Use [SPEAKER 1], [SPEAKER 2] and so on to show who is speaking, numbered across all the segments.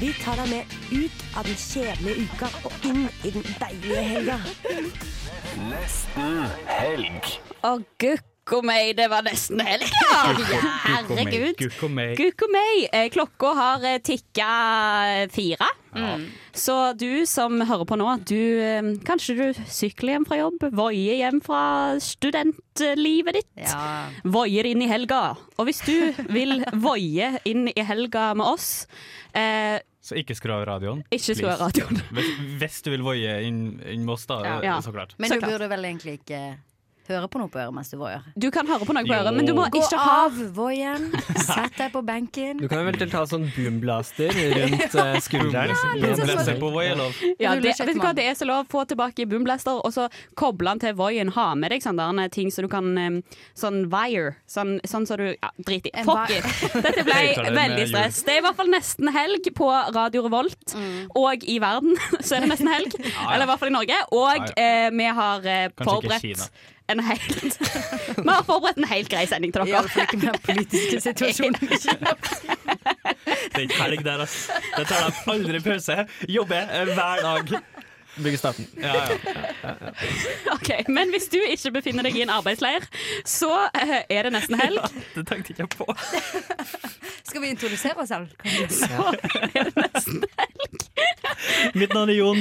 [SPEAKER 1] Vi tar deg med ut av den kjedelige uka og inn i den deilige helga.
[SPEAKER 2] Å, gukk og meg, det var nesten helg. Ja, herregud.
[SPEAKER 3] Gukk og meg.
[SPEAKER 2] Gukk og meg. Eh, Klokka har eh, tikka fire. Mm. Så du som hører på nå, du, eh, kanskje du sykler hjem fra jobb, voier hjem fra studentlivet ditt. Voier inn i helga. Og hvis du vil voie inn i helga med oss, eh,
[SPEAKER 4] Så ikke skru av radioen.
[SPEAKER 2] ikke skru av
[SPEAKER 4] please.
[SPEAKER 2] radioen.
[SPEAKER 4] Hvis, hvis du vil voie inn, inn med oss, da.
[SPEAKER 2] Ja.
[SPEAKER 4] Så klart.
[SPEAKER 5] Men
[SPEAKER 2] Så
[SPEAKER 5] du
[SPEAKER 2] klart.
[SPEAKER 5] burde vel egentlig ikke høre på noe på øret mens du voier.
[SPEAKER 2] Du kan høre på noe på øret, men du må
[SPEAKER 5] Gå
[SPEAKER 2] ikke ha
[SPEAKER 5] av voieren, sett deg på benken.
[SPEAKER 3] Du kan vel ta sånn boomblaster rundt eh, skulderen.
[SPEAKER 4] Blesse på Voi er sånn lov.
[SPEAKER 2] Ja,
[SPEAKER 5] Rulle
[SPEAKER 2] det,
[SPEAKER 5] kjekk
[SPEAKER 2] vet du hva,
[SPEAKER 5] mann.
[SPEAKER 2] det er så lov. Få tilbake boomblaster, og så koble den til Voien. Ha med deg sånne der, eh, ting som du kan eh, Sånn wire. Sånn som så du ja, Drit i.
[SPEAKER 5] En
[SPEAKER 2] Fuck
[SPEAKER 5] vi-
[SPEAKER 2] it! Dette ble
[SPEAKER 4] Jeg tar det med
[SPEAKER 2] veldig stress. Det er i hvert fall nesten helg på Radio Revolt.
[SPEAKER 5] Mm.
[SPEAKER 2] Og i verden så er det nesten helg. Eller i hvert fall i Norge. Og
[SPEAKER 4] Ja,
[SPEAKER 2] eh, vi har eh,
[SPEAKER 4] ikke Kina.
[SPEAKER 2] forberedt en helt Vi har forberedt en helt grei sending til
[SPEAKER 5] I
[SPEAKER 2] dere.
[SPEAKER 5] alle fall ikke med den politiske situasjonen.
[SPEAKER 4] Det er ikke helg der, ass. Det tar de aldri pause. Jobber eh, hver dag.
[SPEAKER 3] Bygge staten.
[SPEAKER 4] Ja, ja.
[SPEAKER 2] Ok, Men hvis du ikke befinner deg i en arbeidsleir, så eh, er det nesten helg.
[SPEAKER 4] Det tenkte ikke jeg på.
[SPEAKER 5] Skal vi introdusere oss selv?
[SPEAKER 2] Så er det nesten
[SPEAKER 4] Mitt navn er Jon.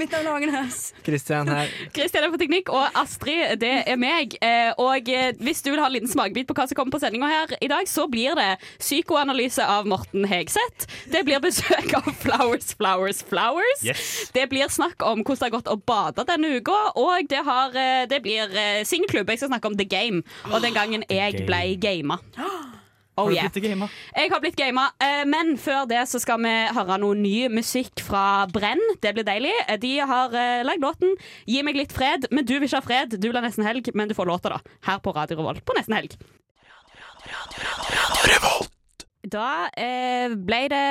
[SPEAKER 5] Mitt navn er Agnes.
[SPEAKER 3] Kristian her.
[SPEAKER 2] Kristian er på teknikk, og Astrid, det er meg. Eh, og eh, hvis du vil ha en liten smakebit på hva som kommer på sendinga her i dag, så blir det psykoanalyse av Morten Hegseth. Det blir besøk av Flowers, Flowers, Flowers.
[SPEAKER 4] Yes.
[SPEAKER 2] Det blir snakk om hvordan det har gått å bade denne uka, og det, har, eh, det blir eh, singelklubb. Jeg skal snakke om The Game, og den gangen jeg ble gama. Oh, yeah. Jeg har blitt gama, eh, men før det så skal vi høre noe ny musikk fra Brenn. Det blir deilig. Eh, De har eh, lagd låten 'Gi meg litt fred', men du vil ikke ha fred. Du vil ha Nesten Helg, men du får låta, da. Her på Radio Revolt på Nesten Helg. Da eh, ble det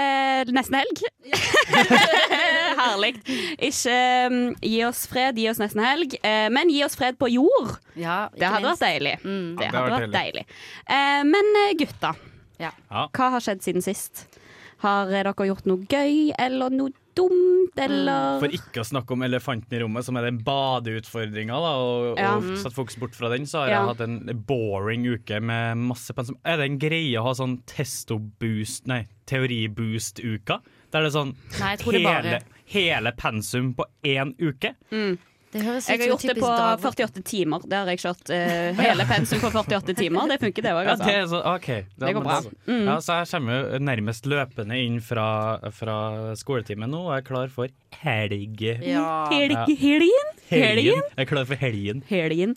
[SPEAKER 2] nesten helg. Herlig. Ikke mm, gi oss fred, gi oss nesten helg, eh, men gi oss fred på jord.
[SPEAKER 5] Ja,
[SPEAKER 2] Det
[SPEAKER 5] ikke
[SPEAKER 2] hadde vært
[SPEAKER 5] minst.
[SPEAKER 2] deilig.
[SPEAKER 5] Mm.
[SPEAKER 2] Det
[SPEAKER 4] Ja, det
[SPEAKER 2] hadde
[SPEAKER 4] hadde
[SPEAKER 2] vært
[SPEAKER 4] vært
[SPEAKER 2] deilig. Eh, men eh, gutta,
[SPEAKER 5] Ja.
[SPEAKER 4] Ja.
[SPEAKER 2] hva har skjedd siden sist? Har eh, dere gjort noe gøy eller noe dumt, eller
[SPEAKER 4] For ikke å snakke om elefanten i rommet, som er den badeutfordringa, da, og,
[SPEAKER 2] Ja.
[SPEAKER 4] og satt fokus bort fra den, så har
[SPEAKER 2] Ja.
[SPEAKER 4] jeg hatt en boring uke med masse pensum. Er det en greie å ha sånn testo-boost, nei, teoriboost-uka? Der det er sånn
[SPEAKER 5] Nei, jeg tror det bare
[SPEAKER 4] hele, hele pensum på én uke?
[SPEAKER 5] Det høres
[SPEAKER 2] Jeg
[SPEAKER 5] ut som
[SPEAKER 2] har gjort det
[SPEAKER 5] typisk
[SPEAKER 2] på
[SPEAKER 5] dag.
[SPEAKER 2] 48 timer. Det har jeg kjørt eh, hele pensum på 48 timer. Det funker, det òg.
[SPEAKER 4] Ja, det
[SPEAKER 2] Altså.
[SPEAKER 4] er så, OK. Ja,
[SPEAKER 2] Det
[SPEAKER 4] men
[SPEAKER 2] går bra.
[SPEAKER 4] altså. Ja, så jeg kommer jo nærmest løpende inn fra, fra skoletimen nå og er klar for helg.
[SPEAKER 5] Ja.
[SPEAKER 2] Helg, helgen? Helgen?
[SPEAKER 4] Jeg er klar for helgen.
[SPEAKER 2] Helgen.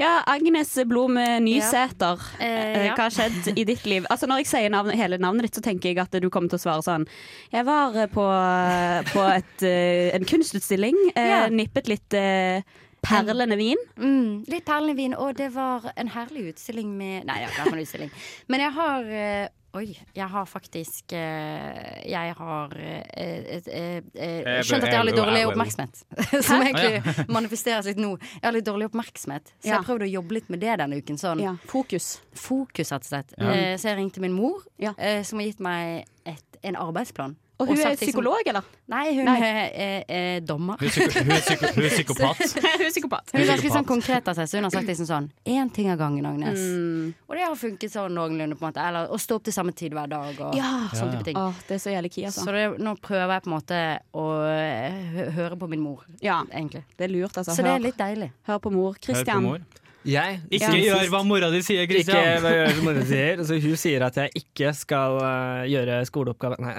[SPEAKER 2] Ja, Agnes Blom eh, Nysæter,
[SPEAKER 5] Eh,
[SPEAKER 2] eh,
[SPEAKER 5] ja.
[SPEAKER 2] hva har skjedd i ditt liv? Altså Når jeg sier navn, hele navnet ditt, så tenker jeg at du kommer til å svare sånn Jeg var eh, på, på et, eh, en kunstutstilling, eh,
[SPEAKER 5] Ja.
[SPEAKER 2] nippet litt eh, perlende vin.
[SPEAKER 5] Mm, litt perlevin, og det var en herlig utstilling med Nei, det var ikke en utstilling. Men jeg har eh, Oi, jeg har faktisk eh, Jeg har eh, eh, eh, skjønt at jeg har litt dårlig oppmerksomhet. Som egentlig manifesteres litt nå. Jeg har litt dårlig oppmerksomhet, så jeg
[SPEAKER 2] Ja.
[SPEAKER 5] har prøvd å jobbe litt med det denne uken. Sånn
[SPEAKER 2] Fokus.
[SPEAKER 5] fokus, rett og slett. Eh, Så jeg ringte min mor,
[SPEAKER 2] Ja.
[SPEAKER 5] eh, som har gitt meg et, en arbeidsplan.
[SPEAKER 2] Og hun er
[SPEAKER 5] sagt liksom-
[SPEAKER 2] psykolog, eller?
[SPEAKER 5] Nei, hun
[SPEAKER 2] Nei.
[SPEAKER 5] Er, er, er dommer.
[SPEAKER 4] Hun er, psyko, hun er, psyko, hun er psykopat.
[SPEAKER 2] hun er psykopat.
[SPEAKER 5] Hun er
[SPEAKER 4] Hun er
[SPEAKER 5] ganske sånn
[SPEAKER 4] psykopat.
[SPEAKER 5] konkret av seg, så hun har sagt liksom sånn Én ting av gangen, Agnes.
[SPEAKER 2] Mm.
[SPEAKER 5] Og det har funket sånn noenlunde, på en måte. Eller å stå opp til samme tid hver dag og
[SPEAKER 2] Ja.
[SPEAKER 5] sånne type ting.
[SPEAKER 2] Åh, det er så jævlig ki, altså.
[SPEAKER 5] Så det, nå prøver jeg på en måte å eh, hø høre på min mor,
[SPEAKER 2] Ja,
[SPEAKER 5] egentlig.
[SPEAKER 2] det er lurt, altså.
[SPEAKER 5] Så det er
[SPEAKER 2] Hør,
[SPEAKER 5] litt deilig.
[SPEAKER 2] hør på mor.
[SPEAKER 4] Hør på
[SPEAKER 2] Kristian.
[SPEAKER 4] mor.
[SPEAKER 3] Jeg
[SPEAKER 6] Ikke
[SPEAKER 3] siden
[SPEAKER 6] gjør
[SPEAKER 3] sist-
[SPEAKER 6] hva mora di sier,
[SPEAKER 3] Ikke
[SPEAKER 6] Christian.
[SPEAKER 3] hva jeg gjør som mora sier. Så hun sier at jeg ikke skal øh, gjøre skoleoppgave Nei.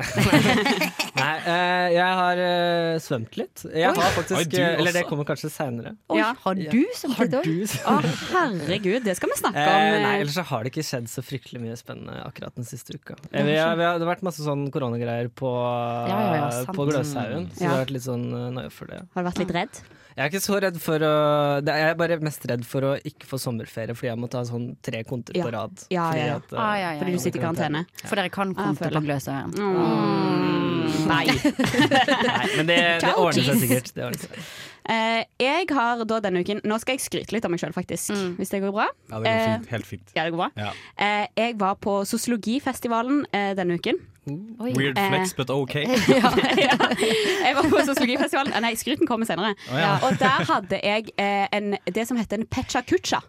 [SPEAKER 3] Nei øh, jeg har øh, svømt litt. Jeg har
[SPEAKER 6] Oi,
[SPEAKER 3] faktisk
[SPEAKER 6] du
[SPEAKER 3] øh, Eller det
[SPEAKER 6] også?
[SPEAKER 3] kommer kanskje seinere.
[SPEAKER 2] Oi, Ja.
[SPEAKER 5] har du som
[SPEAKER 3] Har du
[SPEAKER 2] Å, herregud, det skal vi snakke om.
[SPEAKER 3] Eh, nei,
[SPEAKER 2] eh,
[SPEAKER 3] ellers så har det ikke skjedd så fryktelig mye spennende akkurat den siste uka. Eh, vi har, vi har, det har vært masse sånn koronagreier på, eh,
[SPEAKER 5] ja, ja, sant.
[SPEAKER 3] på Gløshaugen, så
[SPEAKER 2] Ja.
[SPEAKER 3] det har vært litt sånn eh, nøye for det.
[SPEAKER 2] Har du vært litt redd?
[SPEAKER 3] Jeg er ikke så redd for å det er, Jeg er bare mest redd for å ikke få sommerferie, fordi jeg må ta sånn tre konter
[SPEAKER 2] Ja.
[SPEAKER 3] på rad.
[SPEAKER 2] Ja,
[SPEAKER 3] fordi
[SPEAKER 2] ja, ja.
[SPEAKER 3] at, eh,
[SPEAKER 5] Ah, ja, ja,
[SPEAKER 2] Fordi
[SPEAKER 5] ja.
[SPEAKER 2] du sitter i karantene?
[SPEAKER 5] For dere kan
[SPEAKER 2] Ah,
[SPEAKER 5] konte
[SPEAKER 2] føler
[SPEAKER 5] på Gløshaugen.
[SPEAKER 2] Nei.
[SPEAKER 3] Nei, men det, det
[SPEAKER 2] Ciao,
[SPEAKER 3] ordner seg
[SPEAKER 2] cheese.
[SPEAKER 3] sikkert. Det ordner seg.
[SPEAKER 2] Eh, jeg har da denne uken Nå skal jeg skryte litt av meg sjøl, faktisk. Hvis det går bra.
[SPEAKER 6] Ja, det går
[SPEAKER 2] Eh,
[SPEAKER 6] fint. Helt fint.
[SPEAKER 2] Ja, det går bra.
[SPEAKER 6] Ja.
[SPEAKER 2] Eh, jeg var på sosiologifestivalen eh, denne uken.
[SPEAKER 5] Oi.
[SPEAKER 6] Weird
[SPEAKER 2] eh,
[SPEAKER 6] flex, but OK.
[SPEAKER 2] ja, ja. Jeg var på sosiologifestivalen eh, Nei, skryten kommer senere.
[SPEAKER 6] Å, ja.
[SPEAKER 2] Og der hadde jeg eh, en, det som heter en pecha kucha.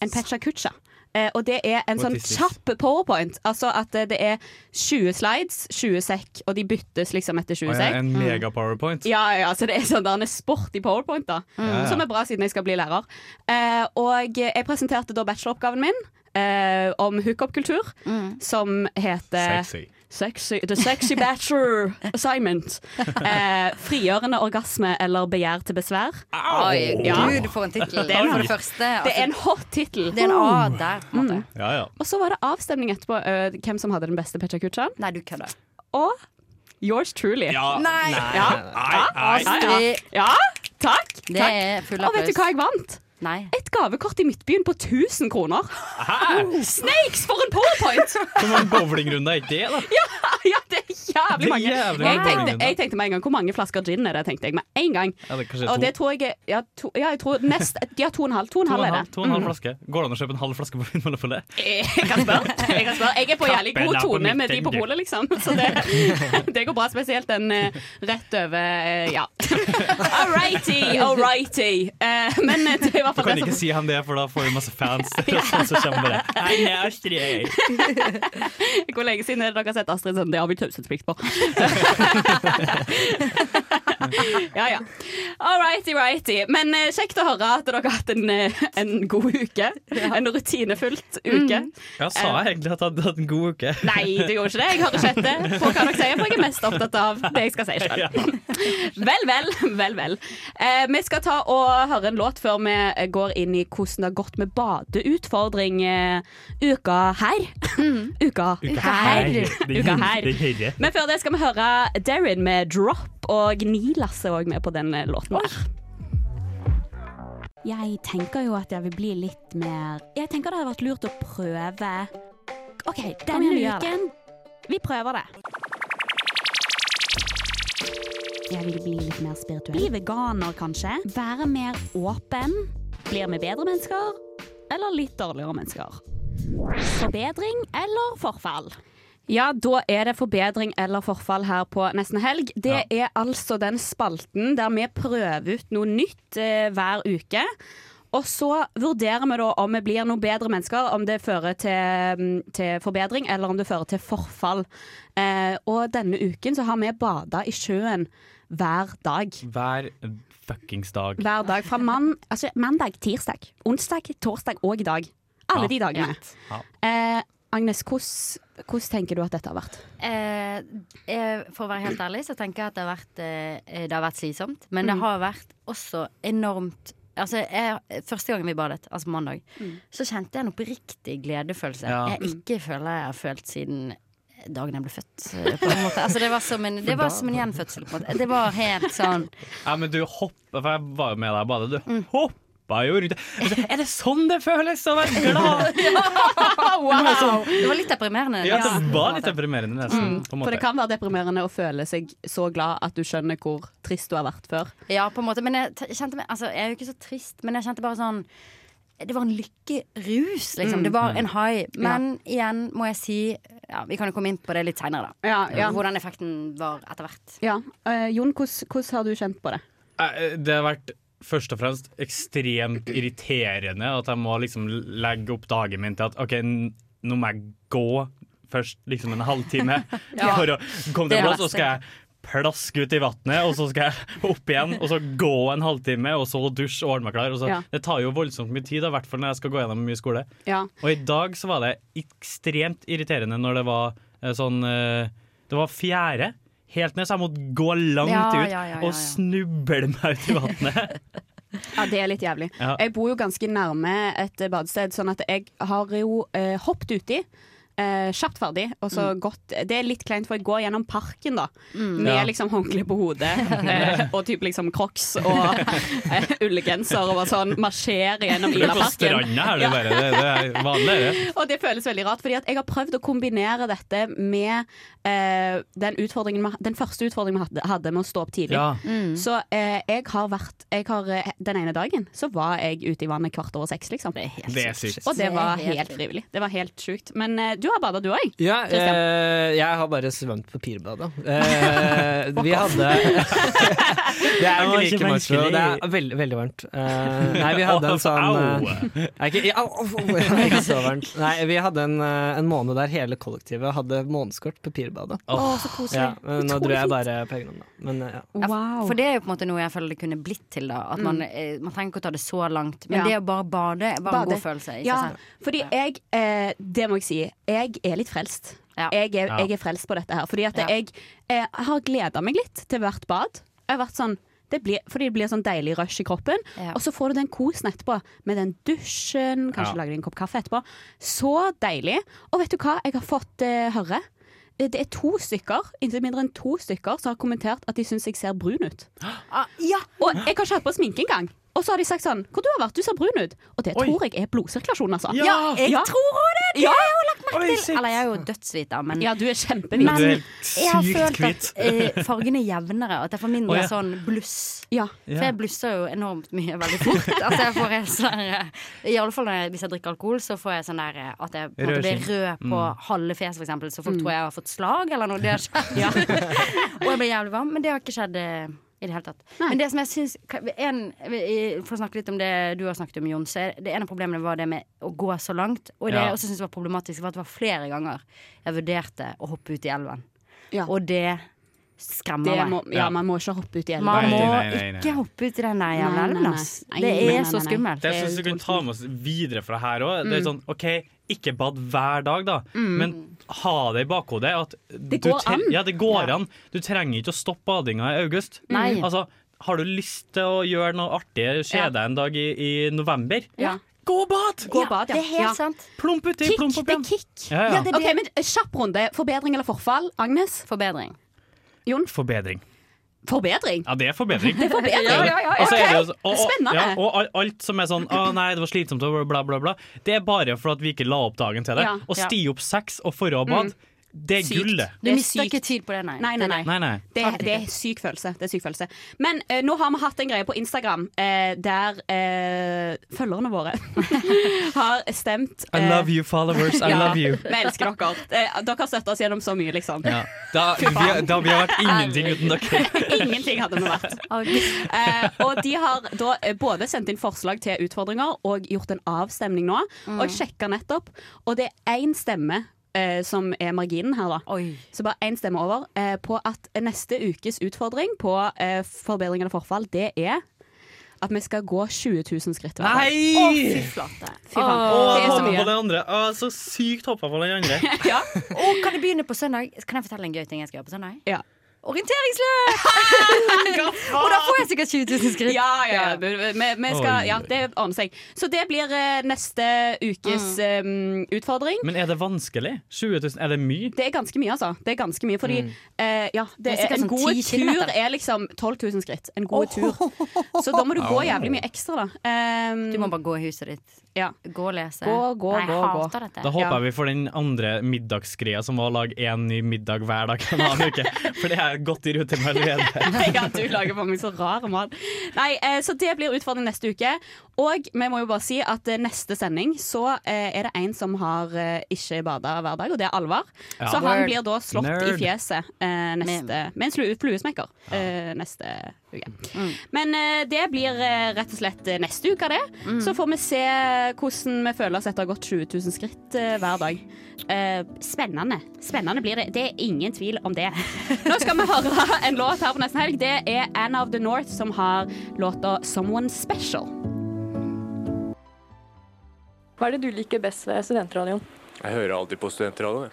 [SPEAKER 2] En pecha kucha. Eh, og det er en
[SPEAKER 6] What
[SPEAKER 2] sånn
[SPEAKER 6] is this?
[SPEAKER 2] kjapp powerpoint. Altså at eh, det er 20 slides, 20 sekk, og de byttes liksom etter 20
[SPEAKER 6] Og jeg
[SPEAKER 2] sekk.
[SPEAKER 6] er en mega powerpoint.
[SPEAKER 2] Ja, ja, så det er sånn der en sport i powerpoint, da.
[SPEAKER 6] Ja, ja.
[SPEAKER 2] Som er bra, siden jeg skal bli lærer. Eh, og jeg presenterte da bacheloroppgaven min eh, om hookup-kultur, som heter
[SPEAKER 6] Sexy.
[SPEAKER 2] Sexy, the Sexy Bachelor Assignment. Eh, frigjørende orgasme eller begjær til besvær.
[SPEAKER 5] Oi,
[SPEAKER 2] Ja.
[SPEAKER 5] gud, for en tittel.
[SPEAKER 2] Det er en-
[SPEAKER 5] For det første. altså,
[SPEAKER 2] Det Altså- er en hot tittel.
[SPEAKER 5] det er en A der, på en måte.
[SPEAKER 6] Ja, ja.
[SPEAKER 2] Og så var det avstemning etterpå eh, hvem som hadde den beste Pecha Kucha.
[SPEAKER 5] Nei, du kødder.
[SPEAKER 2] Og yours truly.
[SPEAKER 6] Ja.
[SPEAKER 5] Nei!
[SPEAKER 2] Ja.
[SPEAKER 6] Nei, nei.
[SPEAKER 2] Ja, ja. ja. Takk.
[SPEAKER 5] Det
[SPEAKER 2] Takk.
[SPEAKER 5] er full
[SPEAKER 2] Og vet du
[SPEAKER 5] applaus.
[SPEAKER 2] hva jeg vant?
[SPEAKER 5] Nei.
[SPEAKER 2] Et gavekort i Midtbyen på 1000 kroner. Snakes for en powerpoint!
[SPEAKER 6] Som en bowlingrunde, er ikke det, da?
[SPEAKER 2] ja, det er jævlig
[SPEAKER 6] Det er
[SPEAKER 2] mange.
[SPEAKER 6] jævlig
[SPEAKER 2] jeg,
[SPEAKER 6] mange
[SPEAKER 2] tenkte,
[SPEAKER 6] powerpoint.
[SPEAKER 2] jeg tenkte med en gang hvor mange flasker gin er det, tenkte jeg med en gang.
[SPEAKER 6] Ja, det er kanskje
[SPEAKER 2] Og det tror jeg er- ja, to, ja, jeg tror nest, ja, to og en halv. To og en
[SPEAKER 6] To og
[SPEAKER 2] halv Mm.
[SPEAKER 6] en
[SPEAKER 2] er
[SPEAKER 6] halv,
[SPEAKER 2] det.
[SPEAKER 6] to og en halv flaske. Går det an å kjøpe en halv flaske på Vinmonopolet? for det?
[SPEAKER 2] Jeg kan spørre. Jeg, kan spørre. jeg er på jævlig
[SPEAKER 6] Kappen
[SPEAKER 2] god
[SPEAKER 6] er på
[SPEAKER 2] tone med de
[SPEAKER 6] midten,
[SPEAKER 2] på
[SPEAKER 6] du.
[SPEAKER 2] polet, liksom. Så det, det går bra. Spesielt den eh, rett over eh, Ja. All righty, all righty. Eh, men det er i hvert
[SPEAKER 6] Du
[SPEAKER 2] fall
[SPEAKER 6] kan
[SPEAKER 2] det
[SPEAKER 6] ikke
[SPEAKER 2] som
[SPEAKER 6] si han det, for da får vi masse fans. Sånn som kommer bare Hei, jeg er Astrid.
[SPEAKER 2] Hvor lenge siden er det dere har sett Astrid sånn? Det har vi taushetsplikt på. ja, ja. All righty, righty. Men eh, kjekt å høre at dere har hatt en, eh, en god uke. En rutinefullt uke.
[SPEAKER 6] Ja, sa jeg egentlig at jeg hadde hatt en god uke?
[SPEAKER 2] Nei, du gjorde ikke det. Jeg hører ikke etter på hva dere sier, for jeg er mest opptatt av det jeg skal si sjøl. Vel, vel, vel, vel. Eh, vi skal ta og høre en låt før vi går inn i hvordan det har gått med badeutfordring eh, uka her. Uka, Uka her. Men før det skal vi høre Darren med 'Drop', og Nilas er òg med på den eh, låten der. Jeg tenker jo at jeg vil bli litt mer Jeg tenker det hadde vært lurt å prøve OK, denne uken Vi prøver det. Jeg vil bli litt mer spirituell. Bli veganer, kanskje. Være mer åpen. Blir vi bedre mennesker? Eller litt dårligere mennesker? Forbedring eller forfall? Ja, da er det forbedring eller forfall her på Nesten Helg. Det er altså den spalten der vi prøver ut noe nytt eh, hver uke. Og så vurderer vi da om vi blir noen bedre mennesker, om det fører til, mm, til forbedring eller om det fører til forfall. Eh, og denne uken så har vi bada i sjøen hver dag.
[SPEAKER 6] Hver fuckings dag.
[SPEAKER 2] Hver dag fra mann, altså mandag, tirsdag, onsdag, torsdag og i dag. Alle
[SPEAKER 6] Ja.
[SPEAKER 2] de dagene.
[SPEAKER 6] Ja.
[SPEAKER 2] Eh, Agnes, hvordan hvordan tenker du at dette har vært?
[SPEAKER 5] Eh, eh, for å være helt ærlig så tenker jeg at det har vært, eh, det har vært slitsomt. Men det har vært også enormt Altså, jeg, Første gangen vi badet, altså mandag, så kjente jeg en oppriktig gledefølelse
[SPEAKER 6] Ja.
[SPEAKER 5] jeg ikke føler jeg har følt siden dagen jeg ble født. eh, På en måte. Altså, det var som en, det var som en gjenfødsel. På en måte. Det var helt sånn
[SPEAKER 6] Ja, men du hoppa For jeg var jo med deg og badet. Du
[SPEAKER 2] Mm.
[SPEAKER 6] hoppa jo rundt. Altså, Er det sånn det føles å være glad?
[SPEAKER 5] Det var litt deprimerende.
[SPEAKER 6] Ja,
[SPEAKER 5] nesten,
[SPEAKER 6] det
[SPEAKER 5] på en
[SPEAKER 6] var litt
[SPEAKER 5] måte.
[SPEAKER 6] deprimerende, nesten. På en
[SPEAKER 2] Mm. For det
[SPEAKER 6] måte.
[SPEAKER 2] kan være deprimerende å føle seg så glad at du skjønner hvor trist du har vært før.
[SPEAKER 5] Ja, på en måte. Men jeg t- kjente meg Altså, jeg er jo ikke så trist, men jeg kjente bare sånn Det var en lykkerus,
[SPEAKER 2] Mm.
[SPEAKER 5] liksom. Det var en high. Men igjen må jeg si Ja, vi kan jo komme inn på det litt seinere, da.
[SPEAKER 2] Ja, ja.
[SPEAKER 5] Hvordan effekten var etter hvert.
[SPEAKER 2] Eh, Jon, hvordan hvordan har du kjent på det?
[SPEAKER 6] Eh, Det har vært først og fremst ekstremt irriterende at jeg må liksom legge opp dagen min til at OK, n- nå må jeg gå først liksom en halvtime for å komme til
[SPEAKER 5] Det
[SPEAKER 6] en
[SPEAKER 5] har
[SPEAKER 6] plass,
[SPEAKER 5] jeg
[SPEAKER 6] og skal jeg
[SPEAKER 4] plaske ut i vannet, og så skal jeg opp igjen, og så gå en halvtime, og så dusje og ordne meg
[SPEAKER 6] Altså,
[SPEAKER 4] klar. Og så,
[SPEAKER 2] Ja.
[SPEAKER 4] Det tar jo voldsomt mye tid, da, i hvert fall når jeg skal gå gjennom mye skole.
[SPEAKER 2] Ja.
[SPEAKER 4] Og i dag så var det ekstremt irriterende når det var eh, sånn eh, Det var fjerde helt ned, så jeg måtte gå langt
[SPEAKER 2] Ja,
[SPEAKER 4] ut
[SPEAKER 2] ja, ja, ja, ja.
[SPEAKER 4] og snuble meg ut i vannet.
[SPEAKER 2] Ja, det er litt jævlig.
[SPEAKER 4] Ja.
[SPEAKER 2] Jeg bor jo ganske nærme et eh, badested, sånn at jeg har jo eh, hoppet uti. Eh, kjapt ferdig, og så
[SPEAKER 4] Mm.
[SPEAKER 2] gått Det er litt kleint, for jeg går gjennom parken, da.
[SPEAKER 5] Mm.
[SPEAKER 2] Med
[SPEAKER 5] Ja.
[SPEAKER 2] liksom håndkle på hodet, eh, og typ liksom crocs og eh, ullgenser, og bare sånn marsjerer gjennom
[SPEAKER 4] Du er på
[SPEAKER 2] Ilaparken.
[SPEAKER 4] stranda her,
[SPEAKER 2] Ja.
[SPEAKER 4] du bare. Det, det er vanlig, det.
[SPEAKER 2] Og det føles veldig rart, fordi at jeg har prøvd å kombinere dette med eh, den, utfordringen vi- den første utfordringen vi hadde, hadde med å stå opp tidlig.
[SPEAKER 4] Ja.
[SPEAKER 5] Mm.
[SPEAKER 2] Så eh, jeg har vært jeg har, eh, Den ene dagen så var jeg ute i vannet kvart over seks, liksom.
[SPEAKER 4] Det er sykt.
[SPEAKER 2] Og det var
[SPEAKER 5] Det er helt
[SPEAKER 2] helt frivillig. Det var helt sjukt. Men eh, du har bada, du òg.
[SPEAKER 3] Ja,
[SPEAKER 2] Christian.
[SPEAKER 3] eh, jeg har bare svømt papirbadet. Eh, vi hadde Det er
[SPEAKER 4] var ikke
[SPEAKER 3] jo like macho.
[SPEAKER 4] vanskelig.
[SPEAKER 3] Det er veldig, veldig varmt. Eh, nei, vi hadde en sånn
[SPEAKER 4] Au!
[SPEAKER 3] eh, nei, ikke, ja, au, au, au, ikke så varmt. Nei, vi hadde en, eh, en måned der hele kollektivet hadde månedskort papirbadet.
[SPEAKER 2] så
[SPEAKER 3] Ja, men nå dro jeg bare på egen hånd, da. Men eh, ja.
[SPEAKER 5] Ja, f-
[SPEAKER 2] Wow.
[SPEAKER 5] For det er jo på en måte noe jeg føler det kunne blitt til, da. At man, eh, man trenger ikke å ta det så langt. Men
[SPEAKER 2] Mm. Ja.
[SPEAKER 5] det å bare bade er bare en
[SPEAKER 2] Bade.
[SPEAKER 5] god følelse. Ikke
[SPEAKER 2] Ja,
[SPEAKER 5] sant?
[SPEAKER 2] fordi jeg eh, Det må jeg si. Jeg er litt frelst.
[SPEAKER 5] Ja.
[SPEAKER 2] Jeg, er,
[SPEAKER 4] Ja.
[SPEAKER 2] jeg er frelst på dette her. Fordi at
[SPEAKER 5] Ja.
[SPEAKER 2] jeg eh, har gleda meg litt til hvert bad. Jeg har vært sånn det blir, fordi det blir sånn deilig rush i kroppen.
[SPEAKER 5] Ja.
[SPEAKER 2] Og så får du den kosen etterpå, med den dusjen. Kanskje
[SPEAKER 4] Ja.
[SPEAKER 2] lager du en kopp kaffe etterpå. Så deilig. Og vet du hva jeg har fått eh, høre? Eh, Det er to stykker intet mindre enn to stykker som har kommentert at de syns jeg ser brun ut. Og jeg har ikke hatt på sminke engang. Og så har de sagt sånn Hvor du har vært? Du ser brun ut. Og det
[SPEAKER 4] Oi.
[SPEAKER 2] tror jeg er blodsirkulasjon, altså.
[SPEAKER 4] Ja. Ja,
[SPEAKER 5] Jeg
[SPEAKER 2] Ja.
[SPEAKER 5] tror også det! Det
[SPEAKER 2] Ja.
[SPEAKER 5] har jeg jo lagt merke
[SPEAKER 4] Oi, shit.
[SPEAKER 5] til. Eller jeg er jo dødsvita, men
[SPEAKER 2] Ja, du er kjempehvit.
[SPEAKER 5] Men
[SPEAKER 4] Du er
[SPEAKER 5] jeg har
[SPEAKER 4] sykt
[SPEAKER 5] følt at
[SPEAKER 4] kvitt.
[SPEAKER 5] eh, fargen er jevnere, at jeg får mindre
[SPEAKER 4] Å, ja.
[SPEAKER 5] sånn bluss.
[SPEAKER 2] Ja.
[SPEAKER 5] For jeg blusser jo enormt mye veldig fort. Altså jeg får helt sånn der, I alle fall når jeg, hvis jeg drikker alkohol, så får jeg sånn der eh, at jeg på en måte
[SPEAKER 4] Rød
[SPEAKER 5] blir rød på
[SPEAKER 2] Mm.
[SPEAKER 5] halve fjeset, for eksempel. Så folk tror jeg har fått slag eller noe. Det har skjedd. Og jeg blir jævlig varm. Men det har ikke skjedd. eh, I det hele tatt. Men det som jeg syns en- i- For å snakke litt om det du har snakket om, Jon. Så er det ene problemet var det med å gå så langt. Og det
[SPEAKER 4] Ja.
[SPEAKER 5] jeg også syns var problematisk, var at det var flere ganger jeg vurderte å hoppe ut i elven.
[SPEAKER 2] Ja.
[SPEAKER 5] Og det skremmer
[SPEAKER 2] Det
[SPEAKER 5] meg.
[SPEAKER 2] må, ja, man må ikke hoppe uti elva.
[SPEAKER 5] Man
[SPEAKER 4] Nei,
[SPEAKER 5] må
[SPEAKER 4] nei, nei, nei.
[SPEAKER 5] ikke hoppe ut i den der
[SPEAKER 2] Nei,
[SPEAKER 5] jævla
[SPEAKER 2] nei,
[SPEAKER 5] elven,
[SPEAKER 2] nei.
[SPEAKER 5] ass.
[SPEAKER 2] Nei,
[SPEAKER 5] Det
[SPEAKER 2] nei,
[SPEAKER 5] er
[SPEAKER 2] nei,
[SPEAKER 5] så
[SPEAKER 2] nei.
[SPEAKER 5] skummelt.
[SPEAKER 4] Det jeg synes vi kunne ta med oss videre fra her òg. Det er
[SPEAKER 2] Mm.
[SPEAKER 4] sånn, OK, ikke bad hver dag, da, men ha det i bakhodet at Det
[SPEAKER 2] går an.
[SPEAKER 4] Ja, det går an. Du trenger ikke å stoppe badinga i august.
[SPEAKER 2] Mm.
[SPEAKER 5] Nei.
[SPEAKER 4] Altså, har du lyst til å gjøre noe artig, se
[SPEAKER 5] Ja.
[SPEAKER 4] deg en dag i, i november?
[SPEAKER 2] Ja.
[SPEAKER 4] Gå og bad!
[SPEAKER 2] Gå og bad,
[SPEAKER 5] Det er helt
[SPEAKER 2] ja.
[SPEAKER 5] sant.
[SPEAKER 4] Plump uti,
[SPEAKER 2] Kick,
[SPEAKER 4] plump opp
[SPEAKER 2] det er
[SPEAKER 4] igjen.
[SPEAKER 2] kick.
[SPEAKER 4] Ja, ja.
[SPEAKER 5] Ja, det er
[SPEAKER 2] OK,
[SPEAKER 5] det.
[SPEAKER 2] men eh, kjapp runde. Forbedring eller forfall? Agnes?
[SPEAKER 5] Forbedring.
[SPEAKER 2] Jon?
[SPEAKER 4] Forbedring.
[SPEAKER 2] Forbedring.
[SPEAKER 4] Ja, det er forbedring. Det er
[SPEAKER 2] forbedring.
[SPEAKER 4] Og så er det jo så- og, og,
[SPEAKER 2] Spennende.
[SPEAKER 4] ja, og al- alt som er sånn 'Å nei, det var slitsomt', og bla, bla, bla. Det er bare for at vi ikke la opp dagen til det.
[SPEAKER 2] Ja, Mm.
[SPEAKER 4] Å
[SPEAKER 5] ja.
[SPEAKER 4] sti opp seks og forå bad, det er
[SPEAKER 2] Sykt.
[SPEAKER 4] gull, det.
[SPEAKER 5] Du
[SPEAKER 2] Det er
[SPEAKER 5] mister
[SPEAKER 2] sykt.
[SPEAKER 5] ikke tid på det, nei.
[SPEAKER 2] Nei, nei, nei.
[SPEAKER 4] Nei, nei.
[SPEAKER 2] Det, det er syk følelse. Det er syk følelse. Men eh, nå har vi hatt en greie på Instagram eh, der eh, følgerne våre har stemt
[SPEAKER 4] I
[SPEAKER 2] eh,
[SPEAKER 4] love you, followers. I
[SPEAKER 2] ja,
[SPEAKER 4] love you.
[SPEAKER 2] Vi elsker dere. Eh, dere har støtta oss gjennom så mye, liksom.
[SPEAKER 4] Da, vi, da vi har vært ingenting uten dere.
[SPEAKER 2] Ingenting hadde vi vært. Eh, og de har da eh, både sendt inn forslag til utfordringer og gjort en avstemning nå. Og jeg sjekka nettopp, og det er én stemme eh, som er marginen her, da.
[SPEAKER 5] Oi.
[SPEAKER 2] Så bare én stemme over eh, på at neste ukes utfordring på eh, forbedring eller forfall, det er at vi skal gå 20 000 skritt hver dag.
[SPEAKER 5] Å,
[SPEAKER 4] Nei!
[SPEAKER 5] fy flate.
[SPEAKER 2] Fy faen,
[SPEAKER 4] Å,
[SPEAKER 2] det er så
[SPEAKER 4] hoppa på
[SPEAKER 2] mye.
[SPEAKER 4] den andre. Å, så sykt hoppa på den andre.
[SPEAKER 2] Ja,
[SPEAKER 5] Å, kan jeg begynne på søndag? Kan jeg fortelle en gøy ting jeg skal gjøre på søndag?
[SPEAKER 2] ja.
[SPEAKER 5] Orienteringsløp! Og da får jeg sikkert 20 000 skritt.
[SPEAKER 2] Ja, ja, ja. Vi, vi- vi
[SPEAKER 4] Oi.
[SPEAKER 2] skal, ja, det ordner seg. Så det blir eh, neste ukes
[SPEAKER 5] Mm.
[SPEAKER 2] eh, utfordring.
[SPEAKER 4] Men er det vanskelig? 20 000, er det mye?
[SPEAKER 2] Det er ganske mye, altså. Det er ganske mye, fordi eh, ja,
[SPEAKER 5] Mm.
[SPEAKER 2] det
[SPEAKER 5] Det er
[SPEAKER 2] er
[SPEAKER 5] sikkert
[SPEAKER 2] en
[SPEAKER 5] sånn
[SPEAKER 2] god
[SPEAKER 5] 10 kilometer.
[SPEAKER 2] tur er liksom 12 000 skritt. En god tur. Så da må du gå jævlig mye ekstra, da. Ehm,
[SPEAKER 5] Du må bare gå i huset ditt.
[SPEAKER 2] ja.
[SPEAKER 5] Gå og lese.
[SPEAKER 2] Gå, gå,
[SPEAKER 5] nei, jeg
[SPEAKER 2] gå, gå.
[SPEAKER 5] hater
[SPEAKER 4] Da
[SPEAKER 5] dette.
[SPEAKER 4] håper
[SPEAKER 2] Ja.
[SPEAKER 4] jeg vi får den andre middagsgreia som var å lage én ny middag hver dag en annen uke. For det er jeg godt i rute med allerede.
[SPEAKER 2] ja, du lager for meg så rar mat. Nei, eh, så det blir utfordring neste uke. Og vi må jo bare si at eh, neste sending så eh, er det en som har eh, ikke bada hver dag, og det er Alvar.
[SPEAKER 6] Ja.
[SPEAKER 2] Så han
[SPEAKER 6] Nerd.
[SPEAKER 2] blir da slått i
[SPEAKER 6] Nerd.
[SPEAKER 2] fjeset eh, neste, med en slu- fluesmekker eh, neste uke. Men eh, det blir eh, rett og slett eh, neste uke, det. Så får vi se hvordan vi føler oss etter å ha gått 20 000 skritt eh, hver dag. Eh, spennende. Spennende blir det. Det er ingen tvil om det. Nå skal vi høre en låt her på nesten helg. Det er Anna of the North som har låta 'Someone Special'.
[SPEAKER 7] Hva er det du liker best ved studentradioen?
[SPEAKER 8] Jeg hører alltid på studentradioen.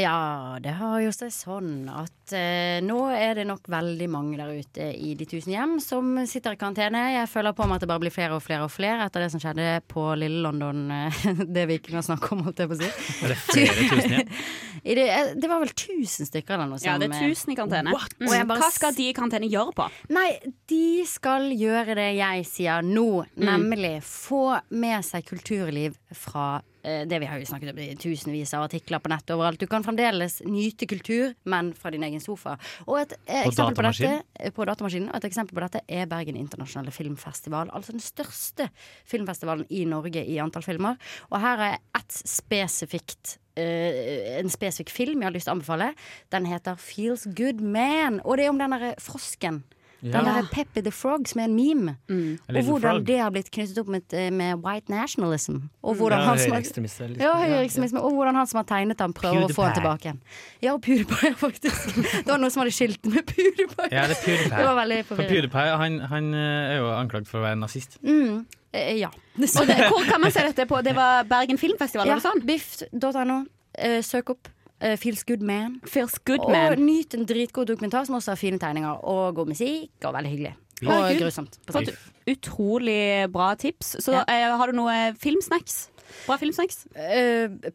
[SPEAKER 5] Ja, det har jo seg sånn at eh, nå er det nok veldig mange der ute i de tusen hjem som sitter i karantene. Jeg føler på meg at det bare blir flere og flere og flere etter det som skjedde på Lille London. eh, det vi ikke kan snakke om, holdt jeg på å si.
[SPEAKER 6] Er det flere tusen igjen?
[SPEAKER 5] I det, eh, det var vel tusen stykker eller noe
[SPEAKER 2] Ja, det er
[SPEAKER 5] som, eh,
[SPEAKER 2] tusen i karantene.
[SPEAKER 5] What?
[SPEAKER 2] Mm.
[SPEAKER 5] Og jeg bare
[SPEAKER 2] Hva skal de i karantene gjøre på?
[SPEAKER 5] Nei, de skal gjøre det jeg sier nå,
[SPEAKER 9] Mm.
[SPEAKER 5] nemlig få med seg kulturliv fra eh, det vi har jo snakket om i tusenvis av artikler på nettet overalt. Du kan fremdeles nyte kultur, men fra din egen sofa. Og et eh,
[SPEAKER 9] På
[SPEAKER 5] eksempel på dette
[SPEAKER 9] datamaskin?
[SPEAKER 5] eh, på datamaskinen, og et eksempel på dette er Bergen internasjonale filmfestival. Altså den største filmfestivalen i Norge i antall filmer. Og her er ett spesifikt eh, en spesifikk film jeg har lyst til å anbefale. Den heter Feels Good Man. Og det er om den derre frosken.
[SPEAKER 9] Ja.
[SPEAKER 5] Den derre Peppy the Frog, som er en meme.
[SPEAKER 9] A
[SPEAKER 5] Og
[SPEAKER 9] little
[SPEAKER 5] hvordan
[SPEAKER 9] frog.
[SPEAKER 5] det har blitt knyttet opp med, med white nationalism. Og
[SPEAKER 9] Mm.
[SPEAKER 5] hvordan
[SPEAKER 9] Ja,
[SPEAKER 5] han som har-
[SPEAKER 9] høyreekstremister, liksom.
[SPEAKER 5] Ja, høyreekstremisme. Og hvordan han som har tegnet den, prøver å få
[SPEAKER 9] PewDiePie.
[SPEAKER 5] den tilbake igjen. Ja, og PewDiePie, faktisk. Det var noen som hadde skilt med PewDiePie.
[SPEAKER 6] Ja, det er PewDiePie.
[SPEAKER 5] Det var veldig
[SPEAKER 6] For
[SPEAKER 5] forvirrende.
[SPEAKER 6] PewDiePie han, han eh, er jo anklagd for å være nazist.
[SPEAKER 5] Mm. Eh, ja.
[SPEAKER 2] Og det, hvor kan man se dette på? Det var Bergen Filmfestival,
[SPEAKER 5] Ja,
[SPEAKER 2] eller sånn?
[SPEAKER 5] Biff.no. Eh, søk opp. eh, Feels Good Man.
[SPEAKER 2] good
[SPEAKER 5] og
[SPEAKER 2] man.
[SPEAKER 5] nyt en dritgod dokumentar som også har fine tegninger og god musikk og veldig hyggelig. Og
[SPEAKER 2] Herregud.
[SPEAKER 5] grusomt. på
[SPEAKER 2] For
[SPEAKER 5] samme tid.
[SPEAKER 2] et Utrolig bra tips. Så eh, har du noe filmsnacks? Bra filmsnacks?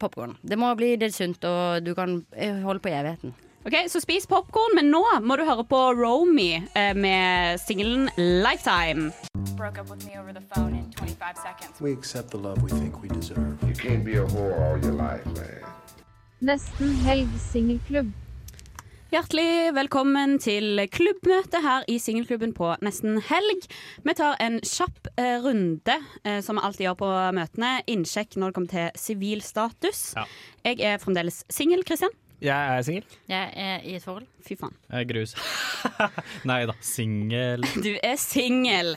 [SPEAKER 5] Popkorn. Eh, Det må bli det sunt, og du kan eh, holde på i evigheten.
[SPEAKER 2] Ok, Så spis popkorn, men nå må du høre på Romy eh, med singelen 'Lifetime'.
[SPEAKER 10] broke up with me over the phone in 25 seconds.
[SPEAKER 11] We accept the love we think we deserve. You can't be a whore all your life, man.
[SPEAKER 12] Nesten helg singelklubb.
[SPEAKER 2] Hjertelig velkommen til klubbmøte her i Singelklubben på nesten helg. Vi tar en kjapp eh, runde, eh, som vi alltid gjør på møtene. Innsjekk når det kommer til sivil status. Jeg er fremdeles singel, Kristian.
[SPEAKER 3] Jeg er singel.
[SPEAKER 5] Jeg er i et forhold.
[SPEAKER 2] Fy faen.
[SPEAKER 6] Jeg er Eh, grus. Nei da, singel.
[SPEAKER 2] Du er singel.